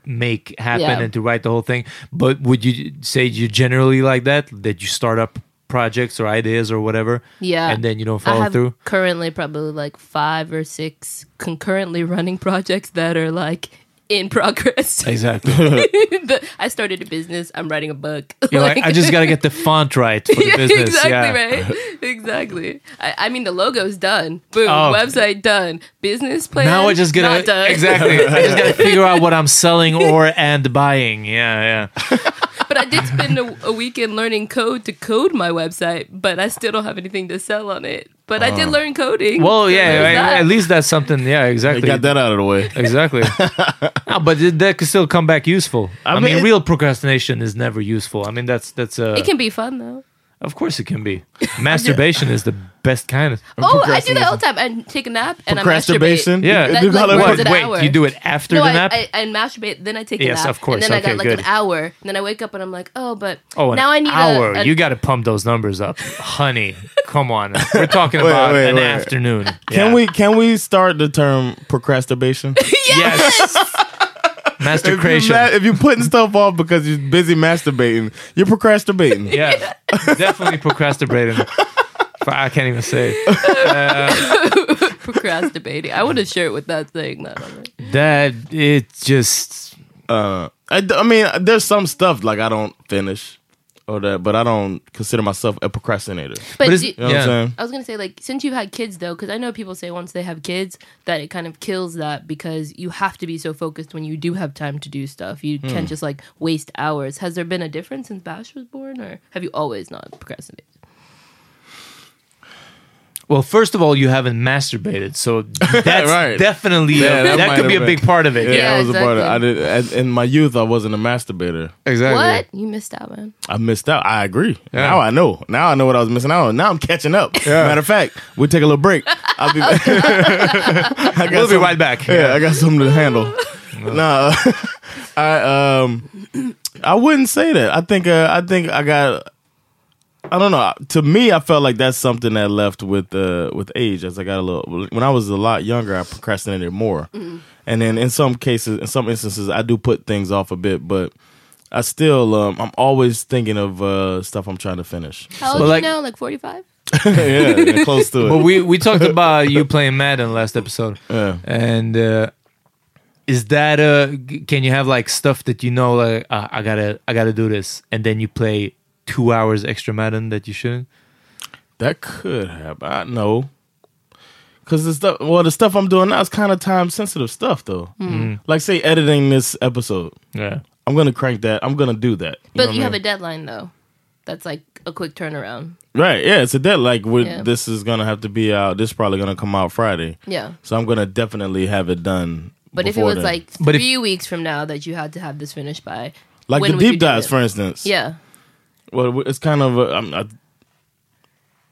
[SPEAKER 4] make happen
[SPEAKER 5] Yeah.
[SPEAKER 4] and to write the whole thing. But would you say you generally like that? That you start up projects or ideas or whatever,
[SPEAKER 5] Yeah.
[SPEAKER 4] and then you don't
[SPEAKER 5] I
[SPEAKER 4] follow
[SPEAKER 5] have
[SPEAKER 4] through.
[SPEAKER 5] currently probably like five or six concurrently running projects that are like in progress.
[SPEAKER 4] Exactly.
[SPEAKER 5] The- I started a business. I'm writing a book.
[SPEAKER 4] You're like, I just got to get the font right for the
[SPEAKER 5] Yeah,
[SPEAKER 4] business.
[SPEAKER 5] Exactly
[SPEAKER 4] yeah.
[SPEAKER 5] right. Exactly. I, I mean, the logo's done. Boom.
[SPEAKER 4] Oh.
[SPEAKER 5] Website done. Business plan.
[SPEAKER 4] Now I just
[SPEAKER 5] not
[SPEAKER 4] gotta
[SPEAKER 5] done.
[SPEAKER 4] exactly. I just gotta figure out what I'm selling or and buying. Yeah, yeah.
[SPEAKER 5] but I did spend a, a weekend learning code to code my website, but I still don't have anything to sell on it. But I did learn coding.
[SPEAKER 4] Oh. Well,
[SPEAKER 5] so
[SPEAKER 4] yeah.
[SPEAKER 5] there's
[SPEAKER 4] right,
[SPEAKER 5] that.
[SPEAKER 4] At least that's something. Yeah,
[SPEAKER 2] You
[SPEAKER 4] exactly.
[SPEAKER 2] got that out of the way.
[SPEAKER 4] Exactly. no, but it- that could still come back useful. I, mean,
[SPEAKER 2] mean-
[SPEAKER 4] real procrastination is never useful. I mean, that's that's uh,
[SPEAKER 5] it can be fun though.
[SPEAKER 4] of course it can be. Masturbation is the best kind of
[SPEAKER 5] Oh, I do that all the time. I take a nap and I
[SPEAKER 2] Procrastination?
[SPEAKER 5] masturbate.
[SPEAKER 4] uh, yeah.
[SPEAKER 2] That- You call like, it
[SPEAKER 4] What?
[SPEAKER 2] once an
[SPEAKER 4] wait,
[SPEAKER 5] hour.
[SPEAKER 4] you do it after
[SPEAKER 5] No,
[SPEAKER 4] the
[SPEAKER 5] I,
[SPEAKER 4] nap?
[SPEAKER 5] I, I masturbate, then I take
[SPEAKER 4] Yes,
[SPEAKER 5] a nap,
[SPEAKER 4] of course.
[SPEAKER 5] and then I
[SPEAKER 4] Okay,
[SPEAKER 5] got like
[SPEAKER 4] good.
[SPEAKER 5] an hour, and then I wake up and I'm like, oh, but
[SPEAKER 4] oh, an
[SPEAKER 5] now I need a-
[SPEAKER 4] hour.
[SPEAKER 5] a,
[SPEAKER 4] you got to pump those numbers up, honey. Come on, we're talking about
[SPEAKER 2] wait,
[SPEAKER 4] an
[SPEAKER 2] wait.
[SPEAKER 4] afternoon.
[SPEAKER 2] Can
[SPEAKER 4] Yeah.
[SPEAKER 2] we can we start the term procrastination?
[SPEAKER 4] Yes.
[SPEAKER 2] If, you
[SPEAKER 4] Masturbation.
[SPEAKER 2] are putting stuff off because you're busy masturbating, you're procrastinating.
[SPEAKER 4] Yeah, definitely procrastinating. Procra- I can't even say. Uh,
[SPEAKER 5] Procrastinating. I want a shirt with that saying that. on it.
[SPEAKER 4] that it just
[SPEAKER 2] Uh, I, d- I mean, there's some stuff like I don't finish or that, but I don't consider myself a procrastinator.
[SPEAKER 5] But,
[SPEAKER 4] it's-
[SPEAKER 5] do-
[SPEAKER 2] You know what I'm saying?
[SPEAKER 5] I was gonna say like since you've had kids though, because I know people say once they have kids that it kind of kills that because you have to be so focused when you do have time to do stuff. You
[SPEAKER 2] Hmm.
[SPEAKER 5] can't just like waste hours. Has there been a difference since Bash was born, or have you always not procrastinated?
[SPEAKER 4] well. First of all, you haven't masturbated, so that's
[SPEAKER 2] Right.
[SPEAKER 4] definitely
[SPEAKER 2] Yeah, that
[SPEAKER 4] that,
[SPEAKER 2] might
[SPEAKER 4] could be
[SPEAKER 2] have
[SPEAKER 4] a
[SPEAKER 2] been-
[SPEAKER 4] big part of it.
[SPEAKER 2] Yeah,
[SPEAKER 5] Yeah,
[SPEAKER 2] I was a part of. I
[SPEAKER 5] exactly.
[SPEAKER 2] did, at- in my youth, I wasn't a masturbator.
[SPEAKER 5] What you missed out, man.
[SPEAKER 2] I missed out. I agree. Now I know. Now I know what I was missing out on. Now I'm catching up. Matter of fact, we take a little break. I'll be back. I got
[SPEAKER 4] We'll be
[SPEAKER 2] some-
[SPEAKER 4] right back.
[SPEAKER 2] Yeah, I got something to handle. nah, I um, I wouldn't say that. I think uh, I think I got. I don't know. To me, I felt like that's something that left with uh, with age. As I got a little, when I was a lot younger, I procrastinated more, and then in some cases, in some instances, I do put things off a bit, but. I still, um, I'm always thinking of uh, stuff I'm trying to finish.
[SPEAKER 5] How old
[SPEAKER 4] But,
[SPEAKER 5] are
[SPEAKER 4] like-
[SPEAKER 5] you now? Like forty five.
[SPEAKER 2] yeah, yeah, close to it.
[SPEAKER 4] But we we talked about you playing Madden last episode,
[SPEAKER 2] Yeah.
[SPEAKER 4] and uh, is that uh g- can you have like stuff that you know like uh, I gotta I gotta do this, and then you play two hours extra Madden that you shouldn't?
[SPEAKER 2] That could happen. I know. Cause the stuff, well, the stuff I'm doing now is kind of time sensitive stuff, though.
[SPEAKER 5] Hmm.
[SPEAKER 2] Like, say, editing this episode,
[SPEAKER 4] Yeah.
[SPEAKER 2] I'm gonna crank that. I'm gonna do that.
[SPEAKER 5] But
[SPEAKER 2] know what
[SPEAKER 5] you
[SPEAKER 2] I
[SPEAKER 5] have a
[SPEAKER 2] mean?
[SPEAKER 5] deadline though. That's like a quick turnaround.
[SPEAKER 2] right? Yeah, it's a dead. Like, we're,
[SPEAKER 5] Yeah.
[SPEAKER 2] this is gonna have to be out. This is probably gonna come out Friday,
[SPEAKER 5] Yeah.
[SPEAKER 2] so I'm gonna definitely have it done.
[SPEAKER 5] But if it
[SPEAKER 2] before
[SPEAKER 5] was
[SPEAKER 2] then.
[SPEAKER 5] like
[SPEAKER 4] But if-
[SPEAKER 5] three weeks from now that you had to have this finished by,
[SPEAKER 2] like
[SPEAKER 5] when
[SPEAKER 2] the
[SPEAKER 5] would you
[SPEAKER 2] deep
[SPEAKER 5] do
[SPEAKER 2] dives,
[SPEAKER 5] it?
[SPEAKER 2] for instance,
[SPEAKER 5] yeah,
[SPEAKER 2] Well, it's kind of a, I'm, I,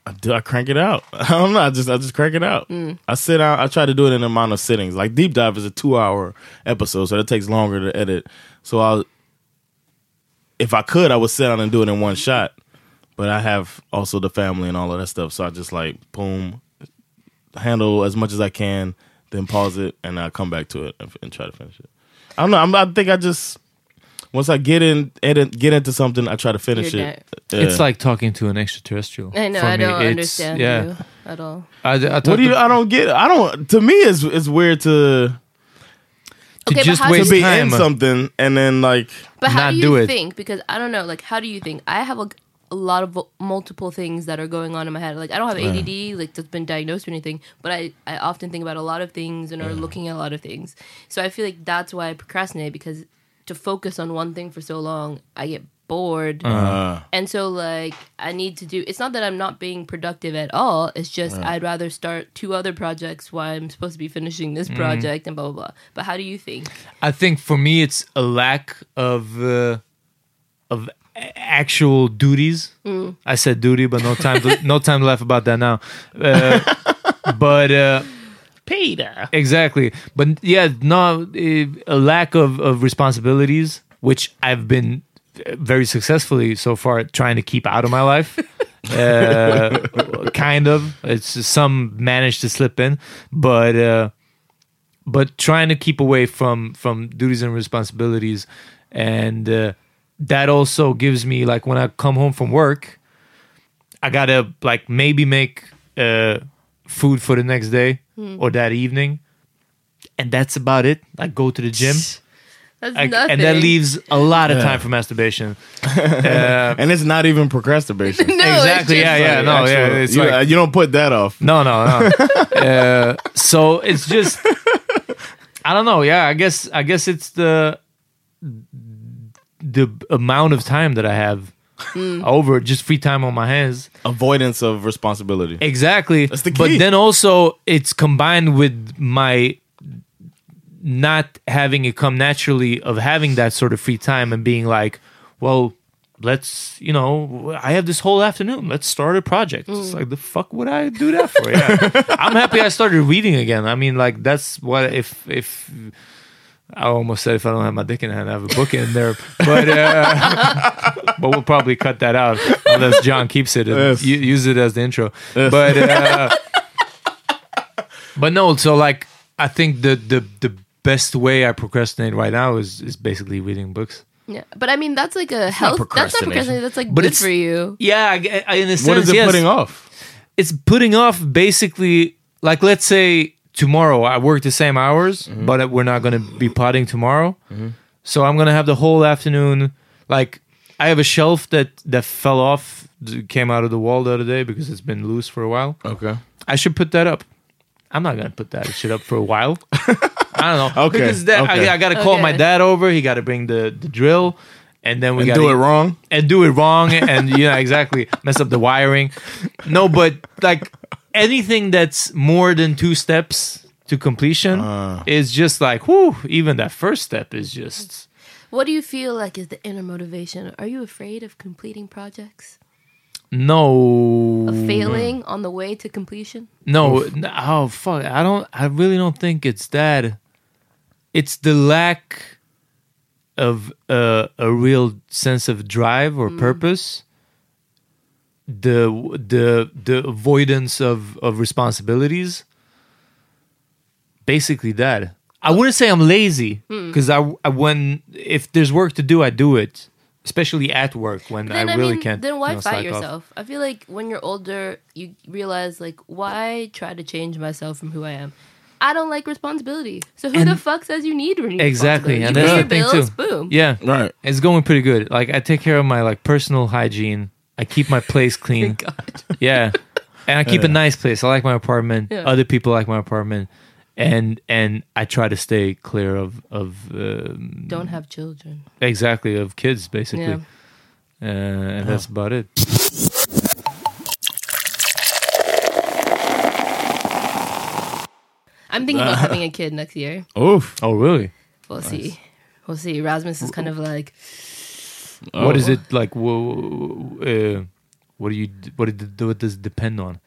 [SPEAKER 2] I do I crank it out. I don't know. I just I just crank it out. I sit out. I try to do it in the amount of sittings. Like deep dive is a two hour episode, so that takes longer to edit. So I, will if I could, I would sit down and do it in one shot. But I have also the family and all of that stuff, so I just like boom, handle as much as I can, then pause it, and I come back to it and, and try to finish it. I don't know. I'm, I think I just once I get in edit, get into something, I try to finish
[SPEAKER 5] You're
[SPEAKER 2] it.
[SPEAKER 4] It's
[SPEAKER 2] Yeah.
[SPEAKER 4] like talking to an extraterrestrial.
[SPEAKER 5] I know.
[SPEAKER 4] for
[SPEAKER 5] I
[SPEAKER 4] me.
[SPEAKER 5] don't
[SPEAKER 4] It's-
[SPEAKER 5] understand
[SPEAKER 4] yeah.
[SPEAKER 5] you at all.
[SPEAKER 4] I, I talked
[SPEAKER 2] What do you?
[SPEAKER 4] to,
[SPEAKER 2] I don't get. it. I don't. To me, it's it's weird to
[SPEAKER 4] to
[SPEAKER 5] Okay, but
[SPEAKER 4] just
[SPEAKER 5] how do you-
[SPEAKER 4] waste
[SPEAKER 2] to be
[SPEAKER 4] time.
[SPEAKER 2] in something and then like
[SPEAKER 5] But how
[SPEAKER 4] not
[SPEAKER 5] do you
[SPEAKER 4] do it.
[SPEAKER 5] think? Because I don't know. Like, how do you think? I have a, a lot of multiple things that are going on in my head. Like, I don't have ADD, like that's been diagnosed or anything. But I, I often think about a lot of things and are looking at a lot of things. So I feel like that's why I procrastinate because to focus on one thing for so long, I get bored.
[SPEAKER 4] Uh-huh.
[SPEAKER 5] And so like I need to do. It's not that I'm not being productive at all. It's just I'd rather start two other projects while I'm supposed to be finishing this
[SPEAKER 4] Mm-hmm.
[SPEAKER 5] project and blah blah blah. But how do you think?
[SPEAKER 4] I think for me, it's a lack of uh, of a- actual duties. I said duty, but no time to, no time left about that now. Uh, but uh,
[SPEAKER 2] Peter.
[SPEAKER 4] exactly, but yeah, no, eh, a lack of of responsibilities, which I've been eh, very successfully so far trying to keep out of my life. uh, kind of. It's some managed to slip in, but. Uh, but trying to keep away from from duties and responsibilities and uh, that also gives me like when i come home from work i gotta like maybe make uh food for the next day or that evening and that's about it i go to the gym
[SPEAKER 5] That's
[SPEAKER 4] I-
[SPEAKER 5] nothing.
[SPEAKER 4] and that leaves a lot of time for masturbation
[SPEAKER 2] And it's not even procrastination.
[SPEAKER 5] No, it's
[SPEAKER 4] exactly yeah
[SPEAKER 5] just
[SPEAKER 4] yeah
[SPEAKER 5] like-
[SPEAKER 4] no yeah
[SPEAKER 2] Actual-
[SPEAKER 4] it's
[SPEAKER 2] you,
[SPEAKER 4] like,
[SPEAKER 2] uh, you don't put that off.
[SPEAKER 4] No, no, no. uh, so it's just, I don't know. Yeah, I guess, I guess it's the the amount of time that I have over just free time on my hands.
[SPEAKER 2] Avoidance of responsibility.
[SPEAKER 4] Exactly.
[SPEAKER 2] That's the key.
[SPEAKER 4] But then also, it's combined with my not having it come naturally of having that sort of free time and being like, well, let's, you know, I have this whole afternoon. Let's start a project. It's
[SPEAKER 2] Mm.
[SPEAKER 4] like, the fuck would I do that for? Yeah. I'm happy I started reading again. I mean, like, that's what if, if, I almost said if I don't have my dick in hand, I have a book in there. But uh, but we'll probably cut that out unless John keeps it and
[SPEAKER 2] Yes.
[SPEAKER 4] u- use it as the intro. But uh, but no, so like I think the the the best way I procrastinate right now is is basically reading books.
[SPEAKER 5] Yeah, but I mean that's like a health. That's not
[SPEAKER 2] procrastination.
[SPEAKER 5] procrastination. That's like
[SPEAKER 4] But
[SPEAKER 5] good
[SPEAKER 4] it's-
[SPEAKER 5] for you.
[SPEAKER 4] Yeah, I, I, in a sense,
[SPEAKER 2] What is it
[SPEAKER 4] yes.
[SPEAKER 2] putting off?
[SPEAKER 4] it's putting off basically like let's say tomorrow I work the same hours,
[SPEAKER 2] Mm-hmm.
[SPEAKER 4] but we're not gonna be potting tomorrow. So I'm gonna have the whole afternoon. Like I have a shelf that that fell off, that came out of the wall the other day because it's been loose for a while.
[SPEAKER 2] Okay.
[SPEAKER 4] I should put that up. I'm not gonna put that shit up for a while. I don't know.
[SPEAKER 2] Okay,
[SPEAKER 4] Because that,
[SPEAKER 2] okay.
[SPEAKER 4] I, I got to call
[SPEAKER 5] Okay.
[SPEAKER 4] my dad over. He got to bring the, the drill, and then we
[SPEAKER 2] And
[SPEAKER 4] gotta,
[SPEAKER 2] do it wrong?
[SPEAKER 4] and do it wrong, and yeah, exactly mess up the wiring. No, but like anything that's more than two steps to completion is just like whoo. Even that first step is just
[SPEAKER 5] What do you feel like is the inner motivation? Are you afraid of completing projects?
[SPEAKER 4] no
[SPEAKER 5] Of
[SPEAKER 4] Mm-hmm.
[SPEAKER 5] failing on the way to completion?
[SPEAKER 4] No, n- oh fuck! I don't. I really don't think it's that. It's the lack of uh, a real sense of drive
[SPEAKER 5] Mm.
[SPEAKER 4] or purpose. The the the avoidance of of responsibilities. Basically, that I
[SPEAKER 5] Oh.
[SPEAKER 4] wouldn't say I'm lazy
[SPEAKER 5] Mm.
[SPEAKER 4] because I, I when if there's work to do, I do it. Especially at work when I really can't.
[SPEAKER 5] Then why
[SPEAKER 4] you know,
[SPEAKER 5] fight
[SPEAKER 4] slack off.
[SPEAKER 5] yourself? I feel like when you're older, you realize like why try to change myself from who I am. I don't like responsibility. So who the fuck says you need re-
[SPEAKER 4] Exactly,
[SPEAKER 5] responsibility?
[SPEAKER 4] and
[SPEAKER 5] You
[SPEAKER 4] that's the
[SPEAKER 5] pay
[SPEAKER 4] thing
[SPEAKER 5] your bills,
[SPEAKER 4] too.
[SPEAKER 5] Boom.
[SPEAKER 4] Yeah,
[SPEAKER 2] Right.
[SPEAKER 4] It's going pretty good. Like I take care of my like personal hygiene. I keep my place clean. yeah, and I keep a nice place. I like my apartment.
[SPEAKER 5] Yeah.
[SPEAKER 4] Other people like my apartment, and and I try to stay clear of of um
[SPEAKER 5] Don't have children.
[SPEAKER 4] exactly of kids basically.
[SPEAKER 5] Yeah.
[SPEAKER 4] Uh, and that's about it.
[SPEAKER 5] I'm thinking about having a kid next year.
[SPEAKER 2] Oof.
[SPEAKER 4] Oh really?
[SPEAKER 5] We'll see. We'll see. Rasmus is kind of like
[SPEAKER 4] What is it like? Wh- uh, what do you? d- What, it, what does it depend on?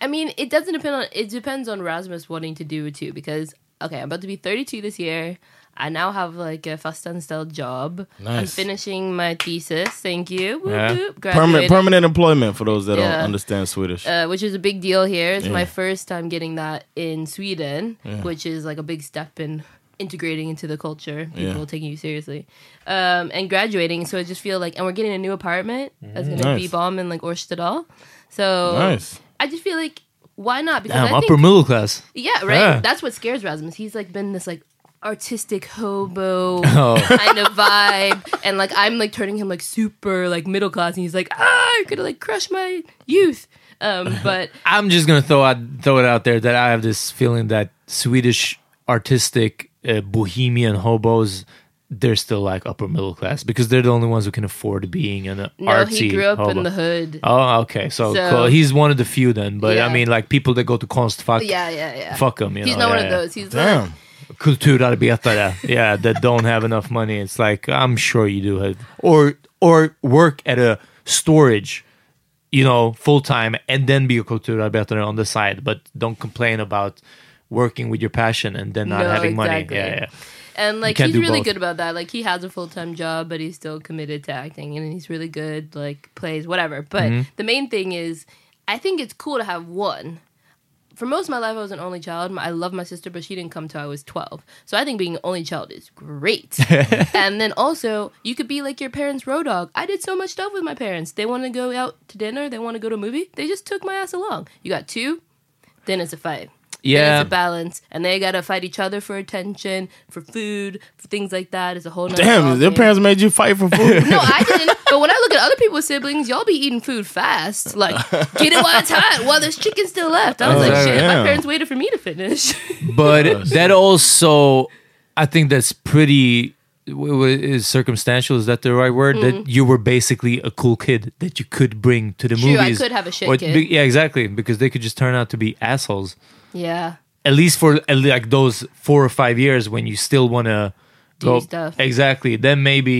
[SPEAKER 5] I mean, it doesn't depend on. It depends on Rasmus wanting to do it too. Because okay, I'm about to be 32 this year. I now have like a Fastan style job. I'm
[SPEAKER 2] Nice.
[SPEAKER 5] finishing my thesis. Thank you. Whoop,
[SPEAKER 4] Yeah.
[SPEAKER 2] Permanent,
[SPEAKER 5] whoop. Graduated,
[SPEAKER 2] permanent employment for those that
[SPEAKER 5] Yeah.
[SPEAKER 2] don't understand Swedish.
[SPEAKER 5] Uh, which is a big deal here. It's my first time getting that in Sweden, which is like a big step in integrating into the culture. People
[SPEAKER 2] Yeah.
[SPEAKER 5] taking you seriously, um, and graduating. So I just feel like, and we're getting a new apartment. That's gonna
[SPEAKER 2] Nice.
[SPEAKER 5] be bomb in like Orstedal. So
[SPEAKER 2] nice.
[SPEAKER 5] I just feel like why not? Because
[SPEAKER 4] Damn,
[SPEAKER 5] I
[SPEAKER 4] upper
[SPEAKER 5] think
[SPEAKER 4] middle class.
[SPEAKER 5] Yeah, right.
[SPEAKER 4] Yeah.
[SPEAKER 5] That's what scares Rasmus. He's like been this like artistic hobo
[SPEAKER 4] Oh.
[SPEAKER 5] kind of vibe, and like I'm like turning him like super like middle class, and he's like, ah, you're gonna like crush my youth. Um, but
[SPEAKER 4] I'm just gonna throw out throw it out there that I have this feeling that Swedish artistic uh, bohemian hobos they're still like upper middle class because they're the only ones who can afford being an
[SPEAKER 5] no, he
[SPEAKER 4] artsy
[SPEAKER 5] grew up
[SPEAKER 4] hobo.
[SPEAKER 5] in the hood.
[SPEAKER 4] Oh, okay. So,
[SPEAKER 5] So-
[SPEAKER 4] cool. he's one of the few then. But I
[SPEAKER 5] Yeah.
[SPEAKER 4] mean, like people that go to Konstfack,
[SPEAKER 5] Yeah, yeah, yeah.
[SPEAKER 4] Fuck 'em, you
[SPEAKER 5] He's
[SPEAKER 4] know,
[SPEAKER 5] not one
[SPEAKER 4] yeah,
[SPEAKER 5] of
[SPEAKER 4] yeah.
[SPEAKER 5] those. He's like,
[SPEAKER 2] Damn.
[SPEAKER 4] kulturarbetare, yeah, that don't have enough money. It's like I'm sure you do have, or or work at a storage, you know, full time, and then be a kulturarbetare on the side, but don't complain about working with your passion and then not
[SPEAKER 5] No,
[SPEAKER 4] having
[SPEAKER 5] exactly.
[SPEAKER 4] money. Yeah, yeah.
[SPEAKER 5] and like
[SPEAKER 4] can't
[SPEAKER 5] he's
[SPEAKER 4] do
[SPEAKER 5] really
[SPEAKER 4] both.
[SPEAKER 5] good about that. Like he has a full time job, but he's still committed to acting, and he's really good. Like plays whatever. But
[SPEAKER 4] Mm-hmm.
[SPEAKER 5] the main thing is, I think it's cool to have one. For most of my life, I was an only child. My- I love my sister, but she didn't come till I was twelve. So I think being an only child is great. and then also, you could be like your parents' road dog. I did so much stuff with my parents. They want to go out to dinner. They want to go to a movie. They just took my ass along. You got two, then it's a fight. Then
[SPEAKER 4] Yeah.
[SPEAKER 5] it's a balance, and they gotta fight each other for attention, for food, for things like that. It's a whole nother
[SPEAKER 2] Damn,
[SPEAKER 5] ball
[SPEAKER 2] their
[SPEAKER 5] game.
[SPEAKER 2] parents made you fight for food.
[SPEAKER 5] No, I didn't. But when I look at other people's siblings, y'all be eating food fast. Like, get it while it's hot, while there's chicken still left. I was like, shit,
[SPEAKER 2] yeah.
[SPEAKER 5] my parents waited for me to finish.
[SPEAKER 4] but that also i think that's pretty w- w- is circumstantial is that the right word that
[SPEAKER 5] Mm-hmm.
[SPEAKER 4] you were basically a cool kid that you could bring to the
[SPEAKER 5] True, I
[SPEAKER 4] movies
[SPEAKER 5] could have a shit kid.
[SPEAKER 4] be- yeah exactly because they could just turn out to be assholes
[SPEAKER 5] yeah.
[SPEAKER 4] at least for at le- like those four or five years when you still want to
[SPEAKER 5] Do stuff.
[SPEAKER 4] exactly then maybe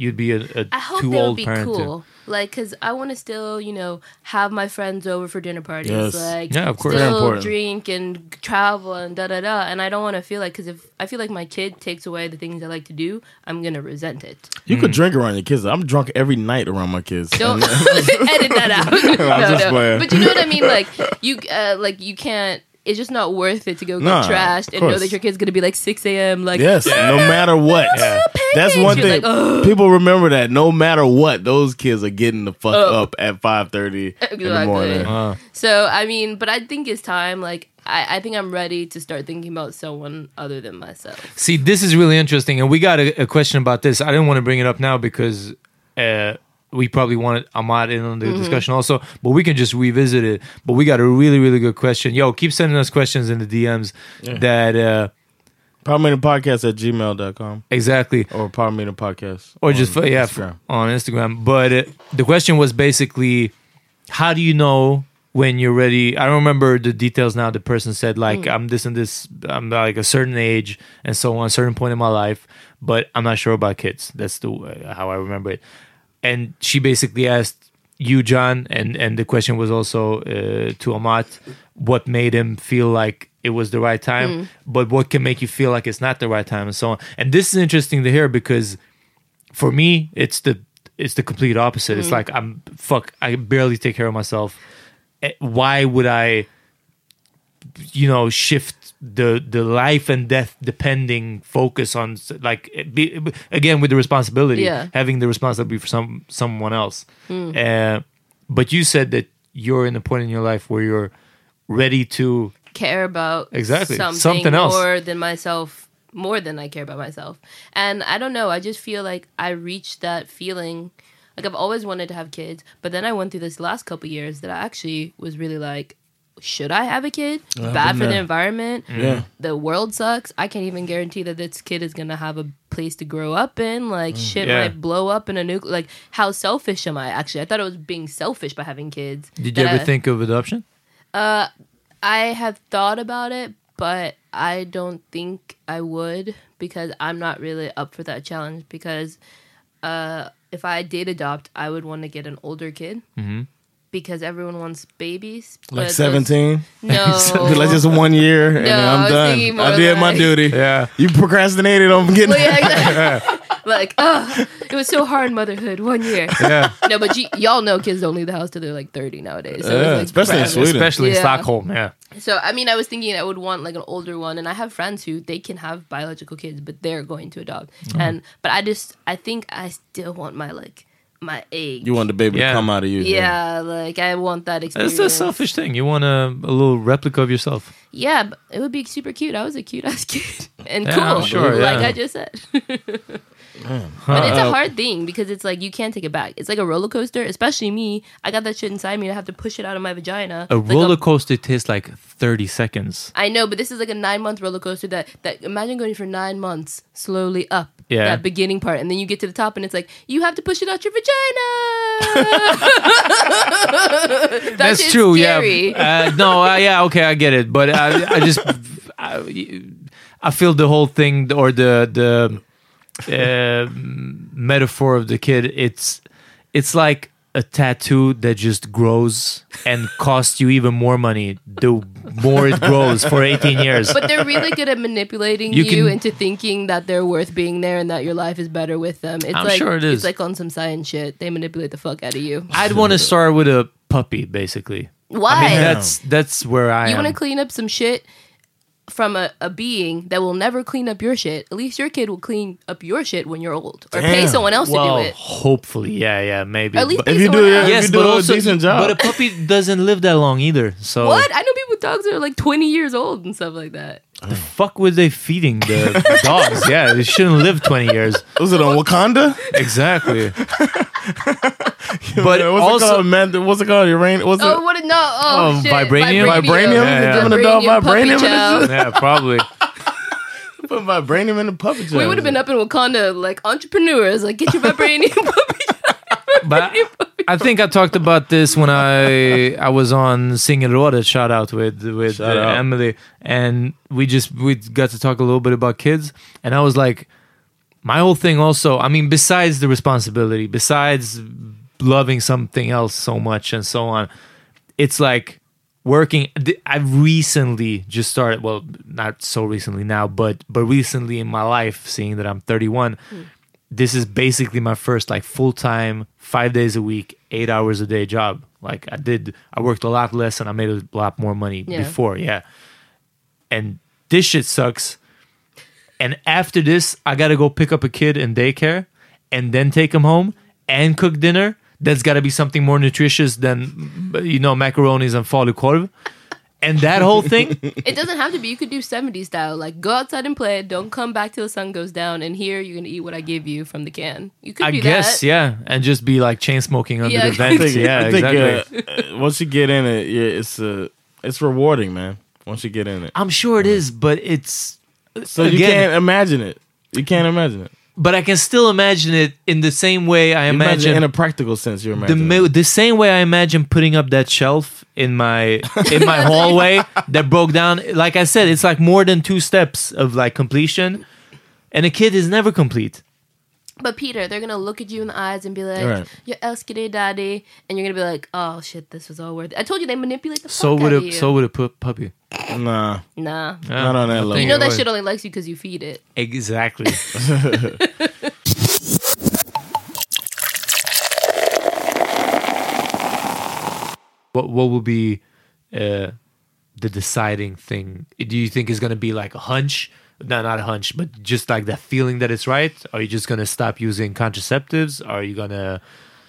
[SPEAKER 4] you'd be a, a
[SPEAKER 5] I hope
[SPEAKER 4] too
[SPEAKER 5] they
[SPEAKER 4] old
[SPEAKER 5] would be
[SPEAKER 4] parent to-
[SPEAKER 5] cool. Like, cause I want to still, you know, have my friends over for dinner parties.
[SPEAKER 2] Yes.
[SPEAKER 5] Like,
[SPEAKER 4] Yeah, of course. Very
[SPEAKER 5] still
[SPEAKER 2] important.
[SPEAKER 5] drink and travel and da da da. And I don't want to feel like, cause if I feel like my kid takes away the things I like to do, I'm gonna resent it.
[SPEAKER 2] you
[SPEAKER 4] Mm.
[SPEAKER 2] could drink around your kids. I'm drunk every night around my kids.
[SPEAKER 5] Don't edit that out. no,
[SPEAKER 2] just
[SPEAKER 5] no.
[SPEAKER 2] playing.
[SPEAKER 5] But you know what I mean? Like you, uh, like you can't it's just not worth it to go get
[SPEAKER 2] Nah, of
[SPEAKER 5] trashed and know that
[SPEAKER 2] course.
[SPEAKER 5] your kid's gonna be like 6 a.m. Like,
[SPEAKER 2] yes, no matter what. That's one
[SPEAKER 5] You're
[SPEAKER 2] thing.
[SPEAKER 5] like, "Ugh."
[SPEAKER 2] People remember that. No matter what, those kids are getting the fuck
[SPEAKER 5] Up.
[SPEAKER 2] up at five thirty in the
[SPEAKER 5] Exactly.
[SPEAKER 2] morning.
[SPEAKER 4] Uh-huh.
[SPEAKER 5] So I mean, but I think it's time. Like I, I think I'm ready to start thinking about someone other than myself.
[SPEAKER 4] See, this is really interesting, and we got a, a question about this. I didn't want to bring it up now because uh, we probably wanted Ahmad in on the
[SPEAKER 5] Mm-hmm.
[SPEAKER 4] discussion also, but we can just revisit it. But we got a really, really good question. Yo, keep sending us questions in the DMs. That uh,
[SPEAKER 2] Power podcast at gmail.com
[SPEAKER 4] exactly,
[SPEAKER 2] or Power Meeting Podcast.
[SPEAKER 4] or just
[SPEAKER 2] on
[SPEAKER 4] yeah f-
[SPEAKER 2] Instagram.
[SPEAKER 4] on Instagram. But uh, the question was basically, how do you know when you're ready? I don't remember the details now. The person said like I'm this and this. I'm like a certain age and so on, a certain point in my life, but I'm not sure about kids. That's the uh, how I remember it. And she basically asked you, John, and and the question was also uh, to Amat, what made him feel like it was the right time, but what can make you feel like it's not the right time, and so on. And this is interesting to hear because for me it's the it's the complete opposite
[SPEAKER 5] Mm.
[SPEAKER 4] it's like i'm fuck i barely take care of myself Eh, why would i you know shift the the life and death depending focus on s- like eh, be, again with the responsibility
[SPEAKER 5] Yeah. Mm.
[SPEAKER 4] having the responsibility for some someone else Eh, but you said that you're in a point in your life where you're ready to
[SPEAKER 5] Care about
[SPEAKER 4] Exactly.
[SPEAKER 5] something,
[SPEAKER 4] Something else.
[SPEAKER 5] more than myself, more than I care about myself. And I don't know. I just feel like I reached that feeling. Like I've always wanted to have kids, but then I went through this last couple years that I actually was really like, should I have a kid? Bad
[SPEAKER 2] been
[SPEAKER 5] for the
[SPEAKER 2] there.
[SPEAKER 5] environment.
[SPEAKER 2] Yeah.
[SPEAKER 5] the world sucks. I can't even guarantee that this kid is gonna have a place to grow up in. Like shit
[SPEAKER 4] Mm, Yeah.
[SPEAKER 5] might blow up in a nuke. Like how selfish am I? Actually, I thought I was being selfish by having kids.
[SPEAKER 4] did you
[SPEAKER 5] That
[SPEAKER 4] ever
[SPEAKER 5] I,
[SPEAKER 4] think of adoption
[SPEAKER 5] I have thought about it, but I don't think I would because I'm not really up for that challenge. Because uh, if I did adopt, I would want to get an older kid.
[SPEAKER 4] Mm-hmm.
[SPEAKER 5] Because everyone wants babies. but
[SPEAKER 2] Like
[SPEAKER 5] those-
[SPEAKER 2] seventeen.
[SPEAKER 5] No.
[SPEAKER 2] like just one year and then
[SPEAKER 5] I
[SPEAKER 2] I'm
[SPEAKER 5] was
[SPEAKER 2] done.
[SPEAKER 5] thinking more
[SPEAKER 2] I did my
[SPEAKER 5] like-
[SPEAKER 2] duty.
[SPEAKER 4] Yeah.
[SPEAKER 2] You procrastinated on getting
[SPEAKER 5] Well, yeah, exactly. like, oh, it was so hard motherhood one year.
[SPEAKER 4] yeah
[SPEAKER 5] No, but y- y'all know kids don't leave the house till they're like 30 nowadays. So it's,
[SPEAKER 2] Yeah,
[SPEAKER 5] like,
[SPEAKER 2] especially in
[SPEAKER 5] forever.
[SPEAKER 2] Sweden.
[SPEAKER 4] especially in
[SPEAKER 5] Yeah.
[SPEAKER 4] stockholm yeah
[SPEAKER 5] So, I mean, I was thinking I would want like an older one, and I have friends who they can have biological kids, but they're going to adopt. And, but I just, I think I still want my like, my egg.
[SPEAKER 2] You want the baby
[SPEAKER 4] Yeah.
[SPEAKER 2] to come out of you.
[SPEAKER 5] yeah, like I want that experience.
[SPEAKER 4] It's a selfish thing. You want a, a little replica of yourself.
[SPEAKER 5] Yeah, but it would be super cute. I was a cute ass kid and
[SPEAKER 4] Yeah,
[SPEAKER 5] cool,
[SPEAKER 4] I'm sure,
[SPEAKER 5] like
[SPEAKER 4] yeah.
[SPEAKER 5] I just said. But it's a hard thing because it's like you can't take it back. It's like a roller coaster, especially me. I got that shit inside me. and I have to push it out of my vagina.
[SPEAKER 4] A
[SPEAKER 5] Like
[SPEAKER 4] roller coaster takes like 30 seconds.
[SPEAKER 5] I know, but this is like a nine month roller coaster that that imagine going for nine months slowly up
[SPEAKER 4] Yeah.
[SPEAKER 5] that beginning part, and then you get to the top, and it's like you have to push it out your vagina. That shit's scary.
[SPEAKER 4] yeah. Uh, no, uh, yeah, okay, I get it. But I, I just, I, I feel the whole thing or the the uh, metaphor of the kid. It's it's like a tattoo that just grows and costs you even more money the more it grows for 18 years.
[SPEAKER 5] But they're really good at manipulating
[SPEAKER 4] You
[SPEAKER 5] you,
[SPEAKER 4] can-
[SPEAKER 5] into thinking that they're worth being there and that your life is better with them. It's
[SPEAKER 4] I'm
[SPEAKER 5] like
[SPEAKER 4] sure it is.
[SPEAKER 5] it's like on some science shit. They manipulate the fuck out of you.
[SPEAKER 4] I'd want to start with a puppy, basically.
[SPEAKER 5] Why?
[SPEAKER 4] I mean, that's that's where I
[SPEAKER 5] you
[SPEAKER 4] am.
[SPEAKER 5] want to clean up some shit from a, a being that will never clean up your shit. At least your kid will clean up your shit when you're old, or pay
[SPEAKER 2] Damn.
[SPEAKER 5] someone else
[SPEAKER 4] well,
[SPEAKER 5] to do it.
[SPEAKER 4] hopefully, yeah, yeah, maybe.
[SPEAKER 5] At least
[SPEAKER 4] But-
[SPEAKER 5] pay
[SPEAKER 2] If you
[SPEAKER 5] someone
[SPEAKER 2] do, yeah,
[SPEAKER 5] else.
[SPEAKER 2] if
[SPEAKER 4] yes,
[SPEAKER 2] you
[SPEAKER 4] but
[SPEAKER 2] do a
[SPEAKER 4] also,
[SPEAKER 2] decent job.
[SPEAKER 4] but a puppy doesn't live that long either. So
[SPEAKER 5] What? I know people with dogs that are like 20 years old and stuff like that.
[SPEAKER 4] fuck were they feeding the dogs? Yeah, they shouldn't live twenty years.
[SPEAKER 2] Was it on Wakanda?
[SPEAKER 4] Exactly.
[SPEAKER 2] But
[SPEAKER 4] but
[SPEAKER 2] what's it
[SPEAKER 4] also,
[SPEAKER 2] called? Man, what's it called? Uranium? What's it?
[SPEAKER 5] Oh, what? a- No, oh,
[SPEAKER 4] Oh,
[SPEAKER 5] shit.
[SPEAKER 4] vibranium?
[SPEAKER 2] Vibranium?
[SPEAKER 4] Yeah,
[SPEAKER 2] Giving a dog
[SPEAKER 5] Vibranium, puppy
[SPEAKER 2] vibranium? and
[SPEAKER 5] chow.
[SPEAKER 2] shit?
[SPEAKER 4] yeah, probably.
[SPEAKER 2] Put vibranium in the puppet jar.
[SPEAKER 5] We would have been up in Wakanda like entrepreneurs, like get your vibranium puppy.
[SPEAKER 4] But I think I talked about this when I I was on Singing Rådet shout out with with uh,
[SPEAKER 2] Shout out.
[SPEAKER 4] Emily and we just we got to talk a little bit about kids and I was like my whole thing also I mean besides the responsibility besides loving something else so much and so on it's like working th- I've recently just started well not so recently now but but recently in my life seeing that I'm 31 this is basically my first like full time, five days a week, eight hours a day job. Like I did, I worked a lot less and I made a lot more money
[SPEAKER 5] Yeah.
[SPEAKER 4] before. Yeah. and this shit sucks. And after this, I gotta go pick up a kid in daycare and then take him home and cook dinner. That's gotta be something more nutritious than you know macaronis and falukorv. And that whole thing,
[SPEAKER 5] It doesn't have to be. You could do 70s style. Like, go outside and play. Don't come back till the sun goes down. And here, you're going to eat what I give you from the can. You could
[SPEAKER 4] I
[SPEAKER 5] do
[SPEAKER 4] guess,
[SPEAKER 5] that.
[SPEAKER 4] yeah, and just be like chain smoking under
[SPEAKER 5] Yeah.
[SPEAKER 4] the vent. yeah,
[SPEAKER 2] I think,
[SPEAKER 4] exactly.
[SPEAKER 2] uh, uh, once you get in it, yeah, it's uh, it's rewarding, man. Once you get in it,
[SPEAKER 4] I'm sure it is, but it's
[SPEAKER 2] so you
[SPEAKER 4] again-
[SPEAKER 2] can't imagine it. You can't imagine it.
[SPEAKER 4] but I can still imagine it in the same way I
[SPEAKER 2] You
[SPEAKER 4] imagine,
[SPEAKER 2] in a practical sense. You're
[SPEAKER 4] the
[SPEAKER 2] imagining.
[SPEAKER 4] mo- the same way I imagine putting up that shelf in my in my hallway that broke down. Like I said, it's like more than two steps of like completion, and a kid is never complete.
[SPEAKER 5] But Peter, they're going to look at you in the eyes and be like,
[SPEAKER 2] Right.
[SPEAKER 5] you're Eskide Daddy. And you're going to be like, oh, shit, this was all worth it. I told you they manipulate the
[SPEAKER 4] So
[SPEAKER 5] fuck
[SPEAKER 4] would
[SPEAKER 5] out of
[SPEAKER 4] a
[SPEAKER 5] you.
[SPEAKER 4] so would a pu- puppy.
[SPEAKER 2] nah,
[SPEAKER 5] nah.
[SPEAKER 2] not on that
[SPEAKER 5] You
[SPEAKER 2] level.
[SPEAKER 5] know
[SPEAKER 4] it
[SPEAKER 5] that
[SPEAKER 4] would.
[SPEAKER 5] shit only likes you because you feed it.
[SPEAKER 4] Exactly. what what will be uh, the deciding thing? Do you think is going to be like a hunch? No, not a hunch, but just like that feeling that it's right. Are you just going to stop using contraceptives? Are you going to?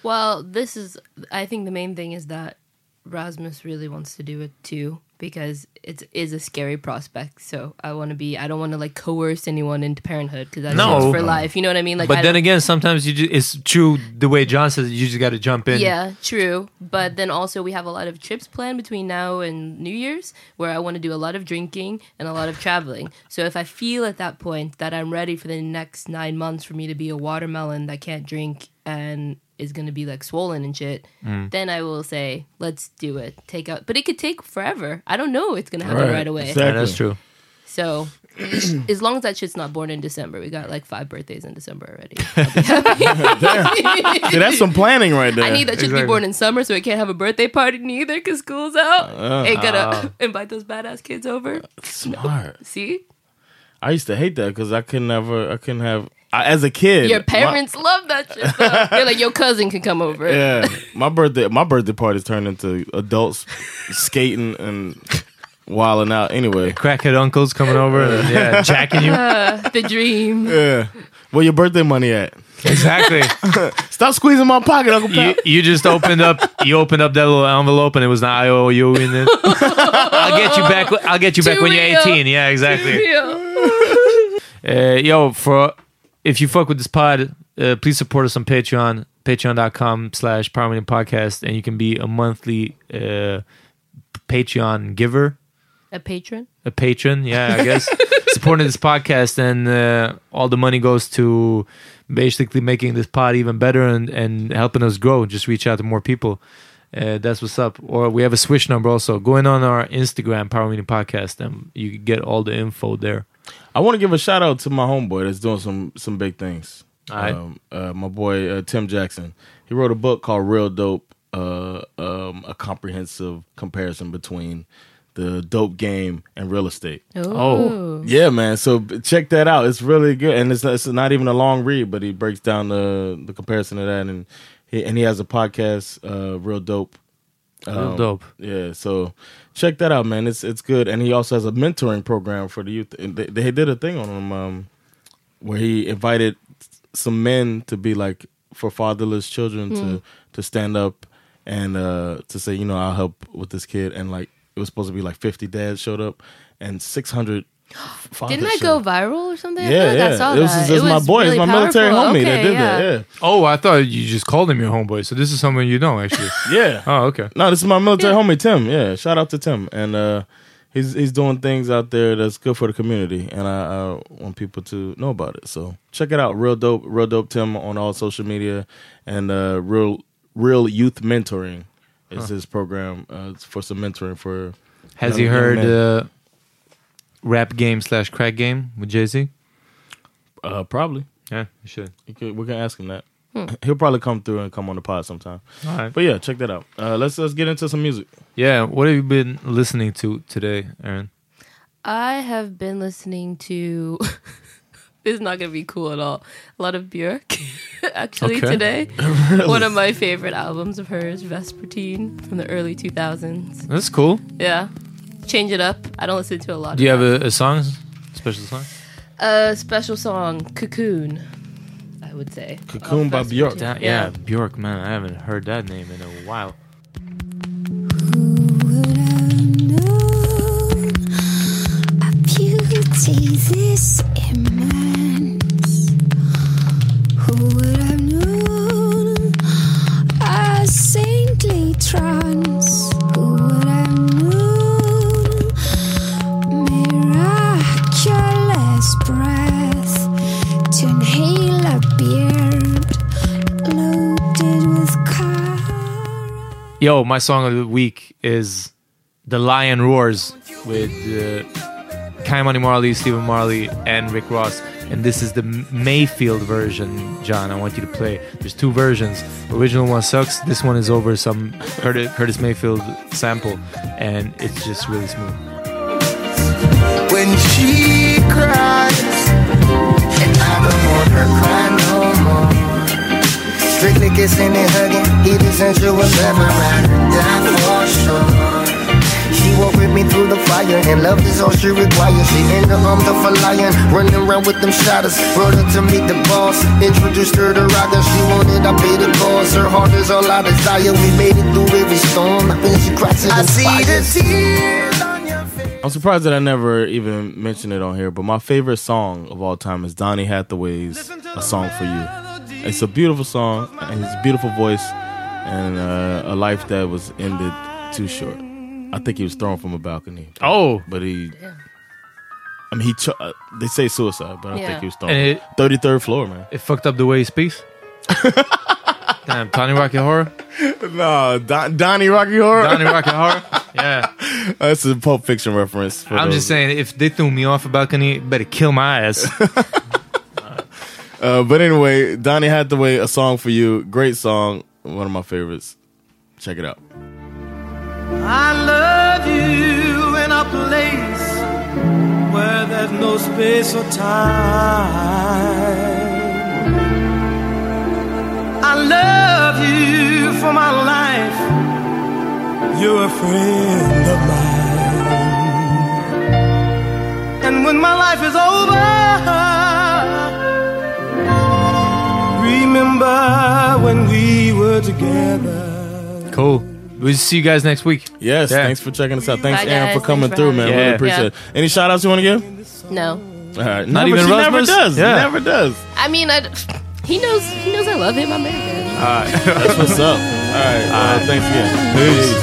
[SPEAKER 5] Well, this is. I think the main thing is that Rasmus really wants to do it too because it is a scary prospect. So I want to be. I don't want to like coerce anyone into parenthood because that's
[SPEAKER 4] No.
[SPEAKER 5] for life. You know what I mean? Like, I
[SPEAKER 4] But then
[SPEAKER 5] don't-
[SPEAKER 4] again, sometimes you ju- it's true the way John says. You just got to jump in.
[SPEAKER 5] Yeah, true. But then also we have a lot of trips planned between now and New Year's where I want to do a lot of drinking and a lot of traveling. So if I feel at that point that I'm ready for the next 9 months for me to be a watermelon that can't drink and is going to be like swollen and shit, then I will say, let's do it. Take out. But it could take forever. I don't know it's going to happen right,
[SPEAKER 2] Right,
[SPEAKER 5] away.
[SPEAKER 2] exactly.
[SPEAKER 4] Yeah, that's true.
[SPEAKER 5] So as long as that shit's not born in December, we got like five birthdays in December already.
[SPEAKER 2] See, that's some planning right there.
[SPEAKER 5] I need that shit to be
[SPEAKER 4] exactly.
[SPEAKER 5] born in summer so it can't have a birthday party neither because school's out.
[SPEAKER 2] Uh-huh.
[SPEAKER 5] Ain't gonna invite those badass kids over.
[SPEAKER 2] Smart.
[SPEAKER 5] See?
[SPEAKER 2] I used to hate that because I could never. I couldn't have. I, as a kid,
[SPEAKER 5] Your
[SPEAKER 2] my-
[SPEAKER 5] parents love that shit though. They're like, your cousin can come over.
[SPEAKER 2] yeah, my birthday. My birthday parties turned into adults skating and wilding out. Anyway,
[SPEAKER 4] Crackhead uncles coming over and yeah, jacking you.
[SPEAKER 5] The dream.
[SPEAKER 2] where your birthday money at?
[SPEAKER 4] Exactly.
[SPEAKER 2] Stop squeezing my pocket, Uncle
[SPEAKER 4] you,
[SPEAKER 2] Pat.
[SPEAKER 4] you just opened up you opened up that little envelope and it was an IOU in it. I'll get you back I'll get you back
[SPEAKER 5] Too
[SPEAKER 4] when
[SPEAKER 5] real.
[SPEAKER 4] you're 18. Yeah, exactly.
[SPEAKER 5] Yeah.
[SPEAKER 4] Uh, yo, for if you fuck with this pod, uh, please support us on Patreon, patreon.com slash permanent podcast, and you can be a monthly uh, Patreon giver,
[SPEAKER 5] A patron?
[SPEAKER 4] a patron, yeah, I guess. Supporting this podcast and uh, all the money goes to basically making this pod even better and, and helping us grow. Just reach out to more people. Uh, that's what's up. Or we have a Swish number also. Go in on our Instagram, Power Meeting Podcast, and you can get all the info there.
[SPEAKER 2] I want to give a shout out to my homeboy that's doing some some big things.
[SPEAKER 4] All right.
[SPEAKER 2] Um, uh, my boy uh, Tim Jackson. He wrote a book called Real Dope, uh, um, a comprehensive comparison between the dope game and real estate.
[SPEAKER 4] Oh.
[SPEAKER 2] Yeah, man. So b- check that out. It's really good, and it's it's not even a long read, but he breaks down the the comparison of that, and he and he has a podcast, uh, Real Dope.
[SPEAKER 4] Real dope.
[SPEAKER 2] Yeah, so check that out, man. It's it's good, and he also has a mentoring program for the youth. And they, they did a thing on him um, where he invited some men to be like for fatherless children
[SPEAKER 5] Hmm.
[SPEAKER 2] to to stand up and uh, to say, you know, I'll help with this kid. And like it was supposed to be like fifty dads showed up, and six hundred.
[SPEAKER 5] Didn't that go viral or something? I feel
[SPEAKER 2] Yeah,
[SPEAKER 5] like
[SPEAKER 2] yeah.
[SPEAKER 5] I saw
[SPEAKER 2] it was,
[SPEAKER 5] that.
[SPEAKER 2] It was my boy. it's
[SPEAKER 5] really
[SPEAKER 2] my military
[SPEAKER 5] powerful.
[SPEAKER 2] homie that
[SPEAKER 5] Okay,
[SPEAKER 2] did that.
[SPEAKER 4] Oh, I thought you just called him your homeboy. So this is someone you know, actually.
[SPEAKER 2] Yeah, yeah.
[SPEAKER 4] oh, okay.
[SPEAKER 2] No, this is my military homie Tim. Yeah, shout out to Tim, and uh, he's he's doing things out there that's good for the community, and I, I want people to know about it. So check it out, real dope, real dope Tim on all social media, and uh, real real youth mentoring is his program uh, it's for some mentoring for.
[SPEAKER 4] Has
[SPEAKER 2] young-
[SPEAKER 4] he
[SPEAKER 2] young
[SPEAKER 4] heard
[SPEAKER 2] men.
[SPEAKER 4] uh, Rap Game slash Crack Game with Jay Z?
[SPEAKER 2] Uh, probably.
[SPEAKER 4] Yeah, you should.
[SPEAKER 2] You could, we can ask him that. He'll probably come through and come on the pod sometime.
[SPEAKER 4] All right.
[SPEAKER 2] But yeah, check that out. Uh, let's let's get into some music.
[SPEAKER 4] Yeah, what have you been listening to today, Aaron?
[SPEAKER 5] I have been listening to. this is not going to be cool at all. A lot of Björk, actually,
[SPEAKER 4] Okay.
[SPEAKER 5] today. One of my favorite albums of hers, Vespertine, from the early 2000s.
[SPEAKER 4] That's cool.
[SPEAKER 5] Yeah. change it up. I don't listen to a lot.
[SPEAKER 4] Do you have a, a song? Special song?
[SPEAKER 5] A special song, Cocoon. I would say.
[SPEAKER 2] Cocoon by Bjork.
[SPEAKER 4] Da- yeah, Bjork, man. I haven't heard that name in a while.
[SPEAKER 7] beauty this immense. Who would have known a saintly trance? Who would have known miraculous breath to inhale a beard loaded with car?
[SPEAKER 4] Yo, my song of the week is The Lion Roars with uh, Kai Money Marley, Stephen Marley, and Rick Ross. And this is the M- Mayfield version, John. I want you to play. There's two versions. Original one sucks. This one is over some Curtis, Curtis Mayfield sample, and it's just really smooth.
[SPEAKER 7] When she cries, and I don't want her crying no more. Strictly kissing and hugging, even since you was ever ride or die for sure. She walked with me through the fire, and love is all she requires. She in the arms of a lion, running around with them shadows. Brought her to meet the boss, introduced her to Raga. She wanted, I paid the cost. Her heart is all I desire. We made it through every storm. When she cries, it I see the tears on your
[SPEAKER 2] I'm surprised that I never even mentioned it on here, but my favorite song of all time is Donny Hathaway's "A Song for You." It's a beautiful song, and his beautiful voice, and uh, a life that was ended too short. I think he was thrown from a balcony.
[SPEAKER 4] Oh,
[SPEAKER 2] but he, I mean, he. Ch- uh, they say suicide, but I
[SPEAKER 4] Yeah.
[SPEAKER 2] think he was
[SPEAKER 4] And
[SPEAKER 2] thrown.
[SPEAKER 4] it-
[SPEAKER 2] Thirty third floor, man.
[SPEAKER 4] It fucked up the way he speaks. Damn, Tony Rocket Horror.
[SPEAKER 2] no, Don, Donnie Rocky Horror.
[SPEAKER 4] Donnie Rocket Horror. Yeah.
[SPEAKER 2] That's a Pulp Fiction reference. for
[SPEAKER 4] I'm
[SPEAKER 2] those-
[SPEAKER 4] just saying, if they threw me off a balcony, better kill my ass.
[SPEAKER 2] Uh, but anyway, Donny Hathaway, a song for you. Great song. One of my favorites. Check it out.
[SPEAKER 8] I love you in a place where there's no space or time. I love you for my life. You're a friend of mine. And when my life is over, remember when we were together.
[SPEAKER 4] cool. We'll see you guys next week.
[SPEAKER 2] Yes, thanks for checking us out. Thanks,
[SPEAKER 5] Bye,
[SPEAKER 2] Aaron,
[SPEAKER 5] guys.
[SPEAKER 2] for coming
[SPEAKER 5] Thanks
[SPEAKER 2] through,
[SPEAKER 5] for
[SPEAKER 2] man.
[SPEAKER 5] having me.
[SPEAKER 2] Really
[SPEAKER 5] Yeah.
[SPEAKER 2] appreciate it. Any shout outs you want to give?
[SPEAKER 5] No,
[SPEAKER 2] All right. No,
[SPEAKER 4] Not even
[SPEAKER 2] but she never
[SPEAKER 4] Rasmus?
[SPEAKER 2] does.
[SPEAKER 4] Yeah.
[SPEAKER 2] She never does.
[SPEAKER 5] I mean, I, he knows. He knows I love him. I'm married.
[SPEAKER 2] All right. That's what's up. All right. Uh, thanks again. Peace.